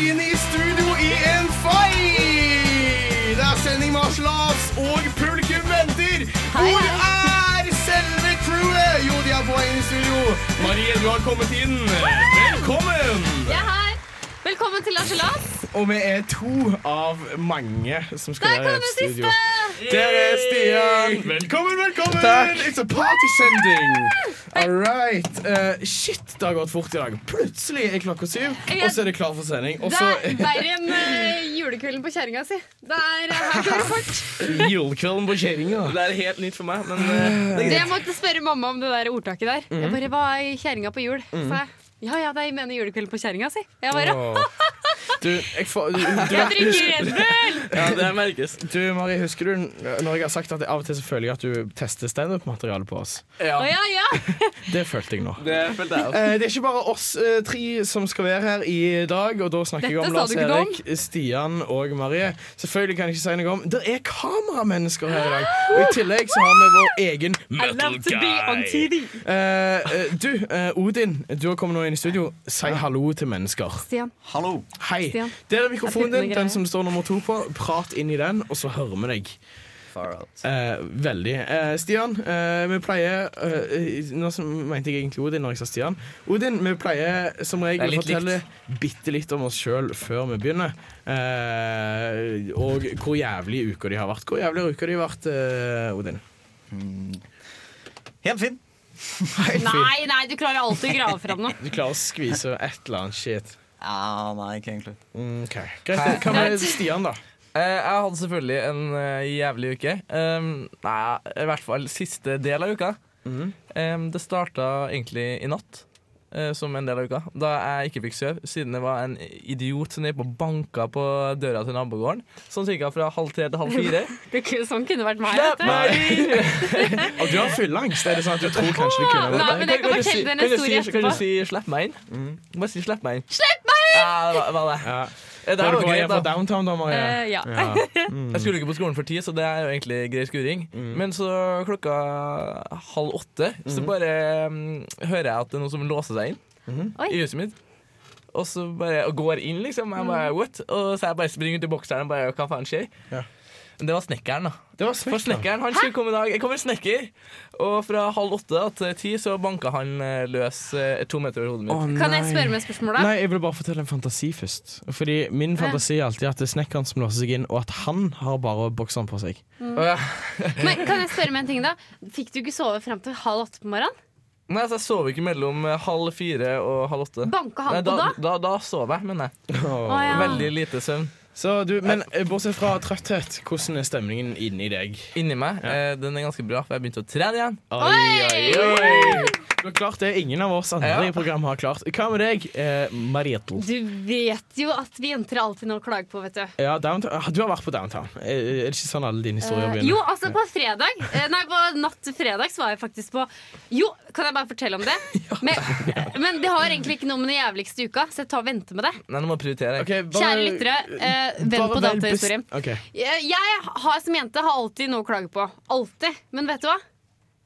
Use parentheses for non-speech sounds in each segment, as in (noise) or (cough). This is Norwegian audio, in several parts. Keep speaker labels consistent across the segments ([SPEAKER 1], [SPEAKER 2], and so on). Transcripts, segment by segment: [SPEAKER 1] inn i studio i en fei! Det er sending med Aslas, og publikum venter.
[SPEAKER 2] Hei,
[SPEAKER 1] Hvor er selve crewet? Jo, de er på vei inn i studio. Marie, du har kommet inn. Velkommen!
[SPEAKER 2] Jeg er her. Velkommen til Arselas.
[SPEAKER 1] Og vi er to av mange som skal
[SPEAKER 2] Der
[SPEAKER 1] være i
[SPEAKER 2] kommer
[SPEAKER 1] et
[SPEAKER 2] siste!
[SPEAKER 1] studio. Der er Stian. Velkommen, velkommen!
[SPEAKER 3] Takk.
[SPEAKER 1] It's a party sending. All right. Eh, shit, det har gått fort i dag. Plutselig er klokka syv,
[SPEAKER 2] Jeg-
[SPEAKER 1] og så er det klar for sending. Og
[SPEAKER 2] Det
[SPEAKER 1] så
[SPEAKER 2] er verre enn eh, julekvelden på kjerringa si. Det er eh, her går det fort.
[SPEAKER 1] julekvelden på kjerringa.
[SPEAKER 3] Det er helt nytt for meg,
[SPEAKER 2] (laughs)
[SPEAKER 3] men eh, det er
[SPEAKER 2] Det
[SPEAKER 3] greit.
[SPEAKER 2] måtte spørre mamma om det der ordtaket der.
[SPEAKER 1] Mhm.
[SPEAKER 2] Jeg bare var i kjerringa på jul. sa jeg. Ja ja, det er- jeg mener julekvelden på kjerringa si. Jeg bare
[SPEAKER 1] Åh. Du, jeg får du,
[SPEAKER 2] Jeg
[SPEAKER 1] du,
[SPEAKER 2] drikker Red Bull!
[SPEAKER 3] Ja, det merkes.
[SPEAKER 1] du, Mari, husker du når jeg har sagt at jeg av og til så føler jeg at du tester standup-materiale på oss?
[SPEAKER 3] Ja,
[SPEAKER 2] Å ja ja.
[SPEAKER 1] Det følte jeg nå.
[SPEAKER 3] det følte jeg også.
[SPEAKER 1] Eh, Det er ikke bare oss eh, tre som skal være her i dag, og da snakker jeg om
[SPEAKER 2] Dette
[SPEAKER 1] Lars
[SPEAKER 2] sa du ikke noe om.
[SPEAKER 1] Erik, Stian og Marie. Selvfølgelig kan jeg ikke si noe om Det er kameramennesker her i dag! Og i tillegg så har vi vår egen
[SPEAKER 2] I love to be on TV.
[SPEAKER 1] Eh, eh, Du, eh, Odin, du har kommet nå inn i studio. Si hallo til mennesker.
[SPEAKER 2] Stian,
[SPEAKER 4] Hallo.
[SPEAKER 1] Hei.
[SPEAKER 2] Stian.
[SPEAKER 1] Der er mikrofonen
[SPEAKER 2] Jeg finner
[SPEAKER 1] din,
[SPEAKER 2] greier.
[SPEAKER 1] den som det står nummer to på. Prat inn i den, og så hører vi deg.
[SPEAKER 3] Far out.
[SPEAKER 1] Eh, veldig. Eh, Stian, eh, vi pleier eh, Nå som mente jeg egentlig Odin når jeg sa Stian. Odin, vi pleier som
[SPEAKER 3] Det er
[SPEAKER 1] regel å
[SPEAKER 3] litt
[SPEAKER 1] fortelle bitte litt om oss sjøl før vi begynner. Eh, og hvor jævlig uka de har vært. Hvor jævlig uka de har vært, eh, Odin?
[SPEAKER 4] Mm. Helt fin.
[SPEAKER 2] Nei, nei, du klarer alltid å grave fram noe.
[SPEAKER 1] Du klarer å skvise et eller annet shit.
[SPEAKER 4] Ja, nei, ikke egentlig.
[SPEAKER 1] Mm, ok. Greit. Hva med Stian, da?
[SPEAKER 3] Eh, jeg hadde selvfølgelig en eh, jævlig uke. Um, nei, i hvert fall siste del av uka.
[SPEAKER 1] Mm.
[SPEAKER 3] Um, det starta egentlig i natt, eh, som en del av uka, da jeg ikke fikk sove, siden det var en idiot som gikk og banka på døra til nabogården, sånn cirka fra halv tre til
[SPEAKER 2] (laughs)
[SPEAKER 3] halv fire.
[SPEAKER 2] Det, kunne- sånn kunne vært meg. Vet
[SPEAKER 3] Slipp
[SPEAKER 2] du.
[SPEAKER 3] meg inn! (laughs)
[SPEAKER 1] Og du har fylleangst. Er det sånn at du tror kanskje du kunne
[SPEAKER 2] Nei,
[SPEAKER 1] vært
[SPEAKER 2] men jeg kan
[SPEAKER 3] du si-
[SPEAKER 2] fortelle deg en
[SPEAKER 3] kan du
[SPEAKER 2] historie
[SPEAKER 3] si-
[SPEAKER 2] etterpå.
[SPEAKER 3] Kan du si 'slipp meg inn'? Bare si 'slipp meg inn'. Slipp meg inn! Ja, det var- var det.
[SPEAKER 1] ja.
[SPEAKER 3] Eh,
[SPEAKER 1] Var
[SPEAKER 3] Det her
[SPEAKER 1] du
[SPEAKER 3] var
[SPEAKER 1] på vei
[SPEAKER 3] greit,
[SPEAKER 1] fra
[SPEAKER 3] da.
[SPEAKER 1] downtown, da, Maria?
[SPEAKER 2] Eh, ja. (laughs)
[SPEAKER 3] Jeg skulle ikke på skolen for ti, så det er jo egentlig grei skuring. Men så klokka halv åtte så bare mm, hører jeg at det er noen som låser seg inn
[SPEAKER 2] Oi.
[SPEAKER 3] i huset mitt. Og så bare og går inn, liksom. Jeg
[SPEAKER 2] Mm.
[SPEAKER 3] bare, what? Og så jeg bare springer ut i bokseren og bare Hva faen skjer?
[SPEAKER 1] Ja.
[SPEAKER 3] Men det var snekkeren, da.
[SPEAKER 1] Det var
[SPEAKER 3] For
[SPEAKER 1] smekk, da.
[SPEAKER 3] snekkeren, han skulle komme i dag. Jeg kommer snekker. Og fra halv åtte da, til ti så banka han eh, løs eh, to meter over hodet mitt.
[SPEAKER 2] Kan jeg spørre med et spørsmål, da?
[SPEAKER 1] Nei, jeg vil bare fortelle en fantasi først. Fordi Min fantasi er alltid at det er snekkeren som låser seg inn, og at han har bare bokseren på seg.
[SPEAKER 3] Og jeg,
[SPEAKER 2] Men kan jeg spørre med en ting da? Fikk du ikke sove frem til halv åtte på morgenen?
[SPEAKER 3] nei, så jeg sov ikke mellom eh, halv fire og halv åtte.
[SPEAKER 2] Banka han
[SPEAKER 3] Nei,
[SPEAKER 2] på
[SPEAKER 3] da,
[SPEAKER 2] da?
[SPEAKER 3] da, da sov jeg, mener jeg.
[SPEAKER 2] Å, ja.
[SPEAKER 3] Veldig lite søvn.
[SPEAKER 1] Så du, Men eh, bortsett fra trøtthet, hvordan er stemningen inni deg?
[SPEAKER 3] Inni meg. Eh, den er ganske bra, for jeg begynte å trene igjen.
[SPEAKER 2] Oi!
[SPEAKER 1] Du har klart det ingen av oss andre
[SPEAKER 3] Ja.
[SPEAKER 1] i programmet har klart. Hva med deg, eh, Marietl?
[SPEAKER 2] Du vet jo at vi jenter alltid noe å klage på, vet du.
[SPEAKER 1] Ja, downtown. Ah, Du har vært på downtown. Eh, Er det ikke sånn alle dine historier
[SPEAKER 2] Eh,
[SPEAKER 1] begynner?
[SPEAKER 2] jo, altså på fredag eh, Nei, på natt til fredag så var jeg faktisk på Jo, kan jeg bare fortelle
[SPEAKER 1] (laughs)
[SPEAKER 2] om det? Men, men det har egentlig ikke noe med den jævligste uka, så jeg tar og venter med det.
[SPEAKER 3] Nei, nå må jeg prioritere.
[SPEAKER 1] Ok, bare-
[SPEAKER 2] Kjære lyttere, eh, vent
[SPEAKER 1] bare
[SPEAKER 2] på
[SPEAKER 1] vel
[SPEAKER 2] datahistorien.
[SPEAKER 1] best- ok.
[SPEAKER 2] Jeg, jeg har som jente har alltid noe å klage på. Alltid. Men vet du hva?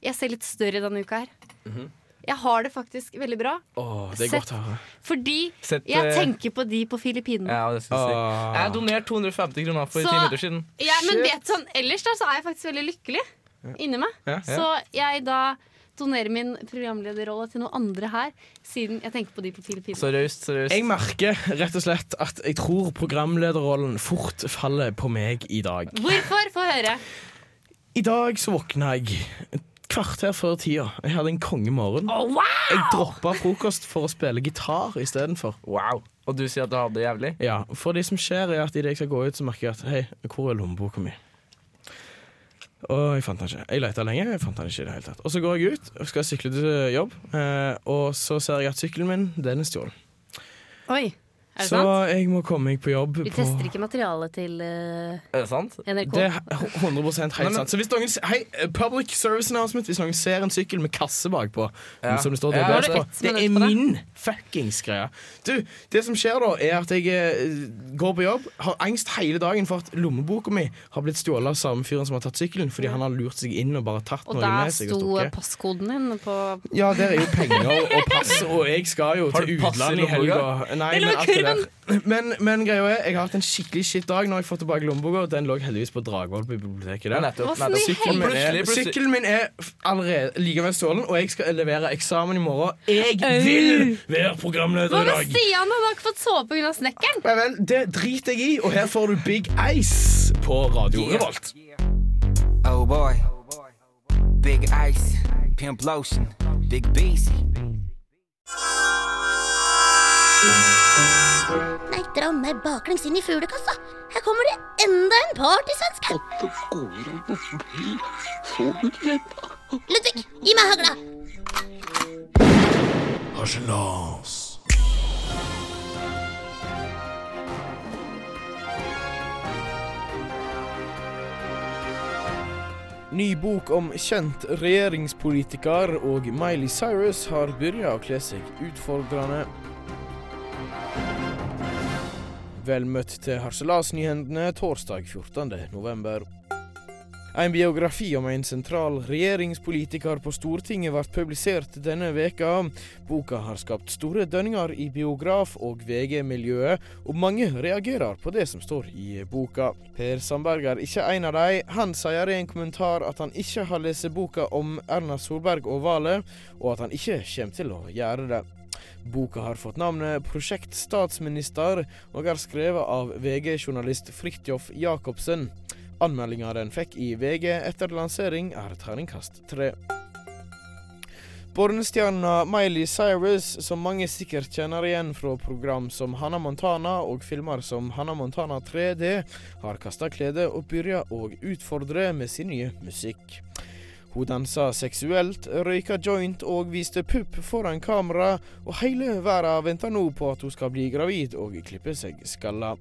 [SPEAKER 2] Jeg ser litt større denne uka her.
[SPEAKER 1] Mhm.
[SPEAKER 2] Jeg har det faktisk veldig bra.
[SPEAKER 1] Åh, det er
[SPEAKER 2] Sett-
[SPEAKER 1] godt å høre.
[SPEAKER 2] Fordi
[SPEAKER 3] Sett,
[SPEAKER 2] jeg
[SPEAKER 3] eh,
[SPEAKER 2] tenker på de på Filippinene.
[SPEAKER 3] Ja, det skal jeg si.
[SPEAKER 1] Ah.
[SPEAKER 3] Jeg donerte 250 kroner for
[SPEAKER 2] Så-
[SPEAKER 3] ti minutter siden.
[SPEAKER 2] Ja,
[SPEAKER 1] shit.
[SPEAKER 2] men vet sånn, ellers da, så er jeg faktisk veldig lykkelig inni meg.
[SPEAKER 1] Ja.
[SPEAKER 2] Så jeg da donerer min programlederrolle til noen andre her, siden jeg tenker på de på Filippinene.
[SPEAKER 3] Så raust, så raust.
[SPEAKER 1] Jeg merker rett og slett at jeg tror programlederrollen fort faller på meg i dag.
[SPEAKER 2] Hvorfor? Få høre.
[SPEAKER 1] I dag så våkna jeg et kvarter før tida. Jeg hadde en kongemorgen.
[SPEAKER 2] wow!
[SPEAKER 1] Jeg droppa frokost for å spille gitar istedenfor.
[SPEAKER 3] Wow. Og du sier at du hadde det jævlig?
[SPEAKER 1] Ja, for det som skjer, er at idet jeg skal gå ut, så merker jeg at hei, hvor er lommeboka mi? Og jeg fant den ikke. Jeg leta lenge, jeg fant den ikke i det hele tatt. Og så går jeg ut og skal sykle til jobb, eh, og så ser jeg at sykkelen min, den er stjålet.
[SPEAKER 2] Oi, er det
[SPEAKER 1] Så
[SPEAKER 2] sant?
[SPEAKER 1] jeg må komme meg på jobb
[SPEAKER 2] Vi
[SPEAKER 1] på
[SPEAKER 2] tester ikke materialet til eh,
[SPEAKER 3] Er det sant?
[SPEAKER 2] NRK.
[SPEAKER 1] Det er 100 helt
[SPEAKER 3] Nei, men-
[SPEAKER 1] sant. Så hvis noen, se- hei, eh, public service announcement Hvis noen ser en sykkel med kasse bakpå,
[SPEAKER 3] Ja.
[SPEAKER 1] som det står
[SPEAKER 3] Ja,
[SPEAKER 1] DBS
[SPEAKER 2] har du
[SPEAKER 1] på,
[SPEAKER 2] ett
[SPEAKER 1] det
[SPEAKER 2] minutt
[SPEAKER 1] er
[SPEAKER 2] på det?
[SPEAKER 1] min fuckings greie. Du, det som skjer da, er at jeg eh, går på jobb, har angst hele dagen for at lommeboka mi har blitt stjålet av samme fyren som har tatt sykkelen, fordi han har lurt seg inn og bare tatt
[SPEAKER 2] Og
[SPEAKER 1] noe
[SPEAKER 2] der
[SPEAKER 1] med seg
[SPEAKER 2] sto
[SPEAKER 1] og stukket.
[SPEAKER 2] passkoden din på
[SPEAKER 1] Ja, der er jo penger og (laughs) pass, og jeg skal jo
[SPEAKER 3] Har
[SPEAKER 1] til
[SPEAKER 3] du pass i
[SPEAKER 1] utlandet i helga.
[SPEAKER 3] lommeboka?
[SPEAKER 1] Nei,
[SPEAKER 2] Det lå
[SPEAKER 1] men
[SPEAKER 2] i
[SPEAKER 1] alt det der. Men, men greia er, jeg har hatt en skikkelig shit dag når jeg får tilbake lommeboka. Den lå heldigvis på Dragvoll på biblioteket der.
[SPEAKER 3] Nettopp.
[SPEAKER 2] Hvordan i
[SPEAKER 3] nettopp.
[SPEAKER 2] Sykkelen
[SPEAKER 1] Sykkelen min er,
[SPEAKER 3] Plutselig, plutselig-
[SPEAKER 1] sykkelen min er f- allerede likevel stjålet, og jeg skal levere eksamen i morgen. Jeg vil være programleder
[SPEAKER 2] Hva
[SPEAKER 1] i
[SPEAKER 2] med
[SPEAKER 1] dag!
[SPEAKER 2] Stian? Han har ikke fått sove pga. snekkeren.
[SPEAKER 1] Nei vel, det driter jeg i, og her får du Big Ice på Radio Revolt.
[SPEAKER 4] Oh boy. Big Ice. Pimp Lotion. Big Beasy.
[SPEAKER 5] Nei, dra meg baklengs inn i fuglekassa. Her kommer det enda en partysvensk. Ludvig, gi meg hagla.
[SPEAKER 1] Ny bok om kjent regjeringspolitiker og Miley Cyrus har begynt å kle seg utfordrende. Vel møtt til Harselasnyhendene torsdag 14. november. En biografi om en sentral regjeringspolitiker på Stortinget ble publisert denne veka. Boka har skapt store dønninger i biograf- og VG-miljøet, og mange reagerer på det som står i boka. Per Sandberg er ikke en av dem. Han sier i en kommentar at han ikke har lest boka om Erna Solberg og Valet, og at han ikke kommer til å gjøre det. Boka har fått navnet 'Prosjekt statsminister' og er skrevet av VG-journalist Fridtjof Jacobsen. Anmeldinga den fikk i VG etter lansering, er terningkast tre. Pornostjerna Miley Cyrus, som mange sikkert kjenner igjen fra program som Hannah Montana og filmer som Hannah Montana 3D, har kasta kledet og begynt å utfordre med sin nye musikk. Hun dansa seksuelt, røyka joint og viste pupp foran kamera, og hele verden venter nå på at hun skal bli gravid og klippe seg skalla.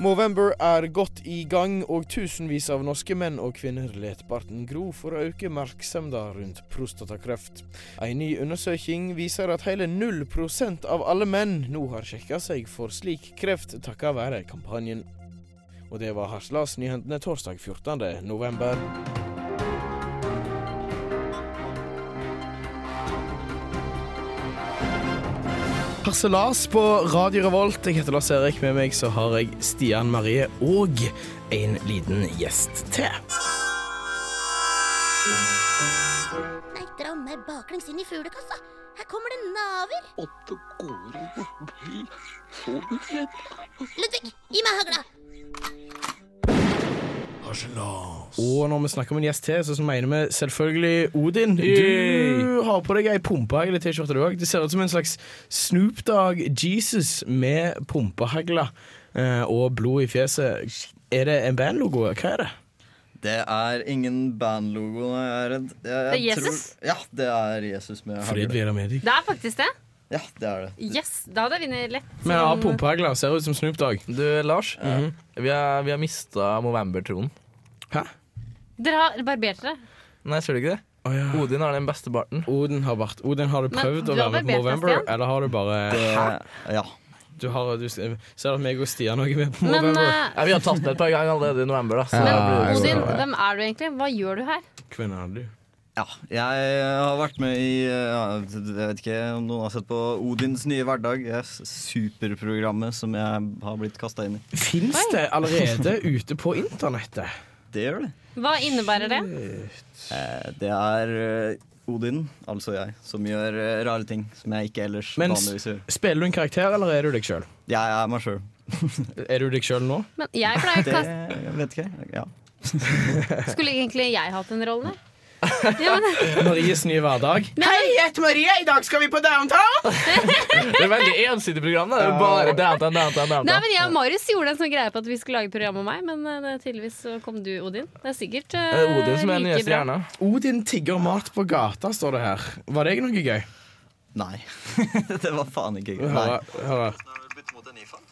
[SPEAKER 1] Movember er godt i gang, og tusenvis av norske menn og kvinner let barten gro for å øke merksemda rundt prostatakreft. En ny undersøking viser at hele 0 av alle menn nå har sjekka seg for slik kreft takka være kampanjen. Og det var Harselas-nyhendene torsdag 14. november. Harselas på Radio Revolt. Jeg heter Lars-Erik. Med meg så har jeg Stian Marie og en liten gjest til.
[SPEAKER 5] Nei, dra meg baklengs inn i fuglekassa. Her kommer det naver. Ludvig, gi meg hagla.
[SPEAKER 1] Og når vi snakker om en gjest til, så mener vi selvfølgelig Odin. Du
[SPEAKER 3] Yay!
[SPEAKER 1] har på deg ei pumpehagle-T-skjorte, du òg. Det ser ut som en slags Snoop Dogg Jesus med pumpehagle eh, og blod i fjeset. Er det en bandlogo? Hva er det?
[SPEAKER 6] Det er ingen bandlogo, nei, jeg er redd. Jeg, jeg
[SPEAKER 2] Det er Jesus?
[SPEAKER 6] Tror, ja, det er Jesus med
[SPEAKER 1] Fred
[SPEAKER 6] hagle.
[SPEAKER 1] Vera Medik.
[SPEAKER 2] Det er faktisk det.
[SPEAKER 6] Ja, det er det.
[SPEAKER 2] Yes, Da hadde jeg vunnet lett.
[SPEAKER 1] Men ja, pumpehagle ser ut som Snoop Dogg.
[SPEAKER 3] Du, Lars,
[SPEAKER 1] Mhm.
[SPEAKER 3] eh, vi har, vi har mista Movember-troen.
[SPEAKER 1] Hæ?
[SPEAKER 2] Dere har barbert dere.
[SPEAKER 3] Nei, ser du ikke det?
[SPEAKER 1] Å ja.
[SPEAKER 3] Odin har den beste barten.
[SPEAKER 1] Odin har, vært, Odin, har du
[SPEAKER 2] Men
[SPEAKER 1] prøvd å
[SPEAKER 2] du har
[SPEAKER 1] være med på
[SPEAKER 2] barbert deg,
[SPEAKER 1] Movember,
[SPEAKER 2] Stian?
[SPEAKER 1] eller har du bare
[SPEAKER 6] Det- Eh, Ja.
[SPEAKER 1] Du, har, du ser at meg og Stian òg er med på
[SPEAKER 2] Men
[SPEAKER 1] Movember.
[SPEAKER 2] eh,
[SPEAKER 3] Ja, vi har tatt den et par ganger allerede i november. da
[SPEAKER 2] men
[SPEAKER 3] så da blir det-
[SPEAKER 2] Odin, hvem er du egentlig? Hva gjør du her?
[SPEAKER 1] Hvem er du?
[SPEAKER 6] ja. Jeg har vært med i eh, ja, Jeg vet ikke om noen har sett på Odins nye hverdag. Det er superprogrammet som jeg har blitt kasta inn i.
[SPEAKER 1] Fins det allerede ute på internettet?
[SPEAKER 6] Det gjør det.
[SPEAKER 2] Hva innebærer det?
[SPEAKER 6] Eh, Det er eh, Odin, altså jeg, som gjør eh, rare ting som jeg ikke ellers
[SPEAKER 1] Men s-
[SPEAKER 6] vanligvis gjør.
[SPEAKER 1] Spiller du en karakter, eller er du deg sjøl?
[SPEAKER 6] Jeg er meg sjøl.
[SPEAKER 1] Er du deg sjøl nå?
[SPEAKER 2] Men jeg
[SPEAKER 3] (laughs)
[SPEAKER 2] pleier å
[SPEAKER 6] Det
[SPEAKER 2] kaste
[SPEAKER 6] jeg vet ikke. Ja.
[SPEAKER 2] Skulle egentlig jeg hatt den rollen? her? Ja, men,
[SPEAKER 1] Maries nye hverdag.
[SPEAKER 2] Hei,
[SPEAKER 1] jeg heter Marie. I dag skal vi på downtown!
[SPEAKER 3] Det er et veldig ensidig program. da Det er bare downtown, downtown,
[SPEAKER 2] nei,
[SPEAKER 3] downtown.
[SPEAKER 2] men Jeg og Marius gjorde en sånn greie på at vi skulle lage program om meg, men eh, det, er tydeligvis så kom du, Odin. Det er sikkert eh,
[SPEAKER 3] Det er Odin som er den nye
[SPEAKER 2] like bra.
[SPEAKER 3] stjerna.
[SPEAKER 1] Odin tigger mat på gata, står det her. Var det noe gøy?
[SPEAKER 6] Nei. (laughs) det var faen ikke gøy. Nei.
[SPEAKER 1] Høre, høre.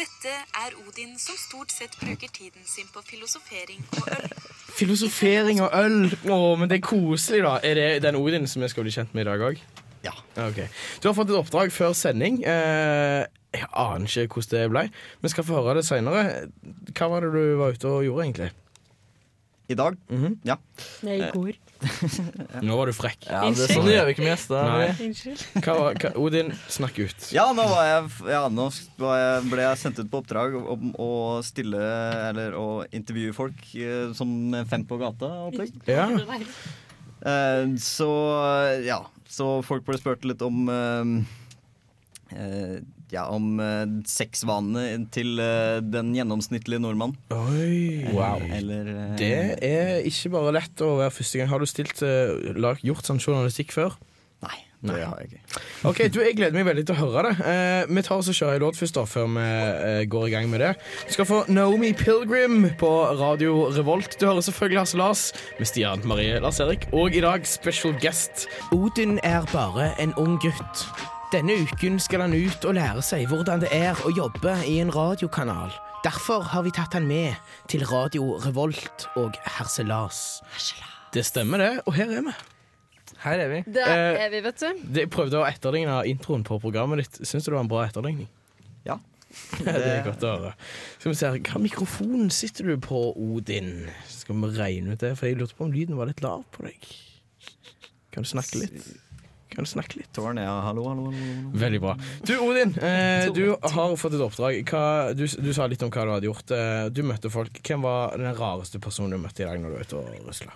[SPEAKER 7] Dette er Odin som stort sett bruker tiden sin på filosofering og øl.
[SPEAKER 1] Filosofering og øl. Å, men det er koselig, da. Er det den Odin som vi skal bli kjent med i dag òg?
[SPEAKER 6] Ja.
[SPEAKER 1] Du har fått et oppdrag før sending. Eh, jeg
[SPEAKER 3] Jeg aner ikke hvordan det ble. Vi skal få høre det seinere. Hva var det du var ute og gjorde, egentlig?
[SPEAKER 6] I dag?
[SPEAKER 3] Mhm.
[SPEAKER 6] Ja.
[SPEAKER 2] Nei, i går.
[SPEAKER 3] Nå var du frekk.
[SPEAKER 8] Ja, det er sånn det gjør vi ikke med gjester.
[SPEAKER 3] Nei.
[SPEAKER 2] Unnskyld.
[SPEAKER 3] Hva, var- hva, Odin, snakk ut.
[SPEAKER 6] Ja, nå, var jeg, ja, nå var jeg, ble jeg sendt ut på oppdrag om å stille eller å intervjue folk eh, som fem på gata-opplegg.
[SPEAKER 3] Ja.
[SPEAKER 6] Eh, så ja. Så folk ble spurt litt om eh, eh, Ja, om eh, sexvanene til eh, den gjennomsnittlige nordmann.
[SPEAKER 3] Oi.
[SPEAKER 6] Eller eh,
[SPEAKER 3] Det er ikke bare lett å være første gang. Har du stilt, eh, lag- gjort sånn journalistikk før?
[SPEAKER 6] Nei,
[SPEAKER 3] Nei.
[SPEAKER 6] det har jeg ikke.
[SPEAKER 3] Ok, du, Jeg gleder meg veldig til å høre det. Eh, vi tar oss og kjører en låt først, da, før vi eh, går i gang med det. Du skal få Naomi Pilgrim på Radio Revolt. Du hører selvfølgelig Hasse Lars med Stian Marie Lars-Erik. Og i dag special guest. Odin er bare en ung gutt. Denne uken skal han ut og lære seg hvordan det er å jobbe i en radiokanal. Derfor har vi tatt han med til Radio Revolt og Herselas. Det stemmer, det. Og her er vi.
[SPEAKER 8] Her er vi.
[SPEAKER 2] Der
[SPEAKER 3] Eh,
[SPEAKER 2] er vi, vet du.
[SPEAKER 3] Det, jeg prøvde å etterligne introen på programmet ditt. Syns du det var en bra etterligning? (laughs)
[SPEAKER 6] Ja.
[SPEAKER 3] Det er godt å høre. Skal vi se her, Hva mikrofon sitter du på, Odin? Skal vi regne ut det? For jeg lurte på om lyden var litt lav på deg. Kan du snakke litt? Kan du snakke litt?
[SPEAKER 6] Tårn, ja. Hallo, hallo, hallo. hallo.
[SPEAKER 3] Veldig bra. Du, Odin, eh, du har fått et oppdrag. Hva, du, du sa litt om hva du hadde gjort. Eh, du møtte folk. Hvem var den rareste personen du møtte i dag når du var ute og rusla?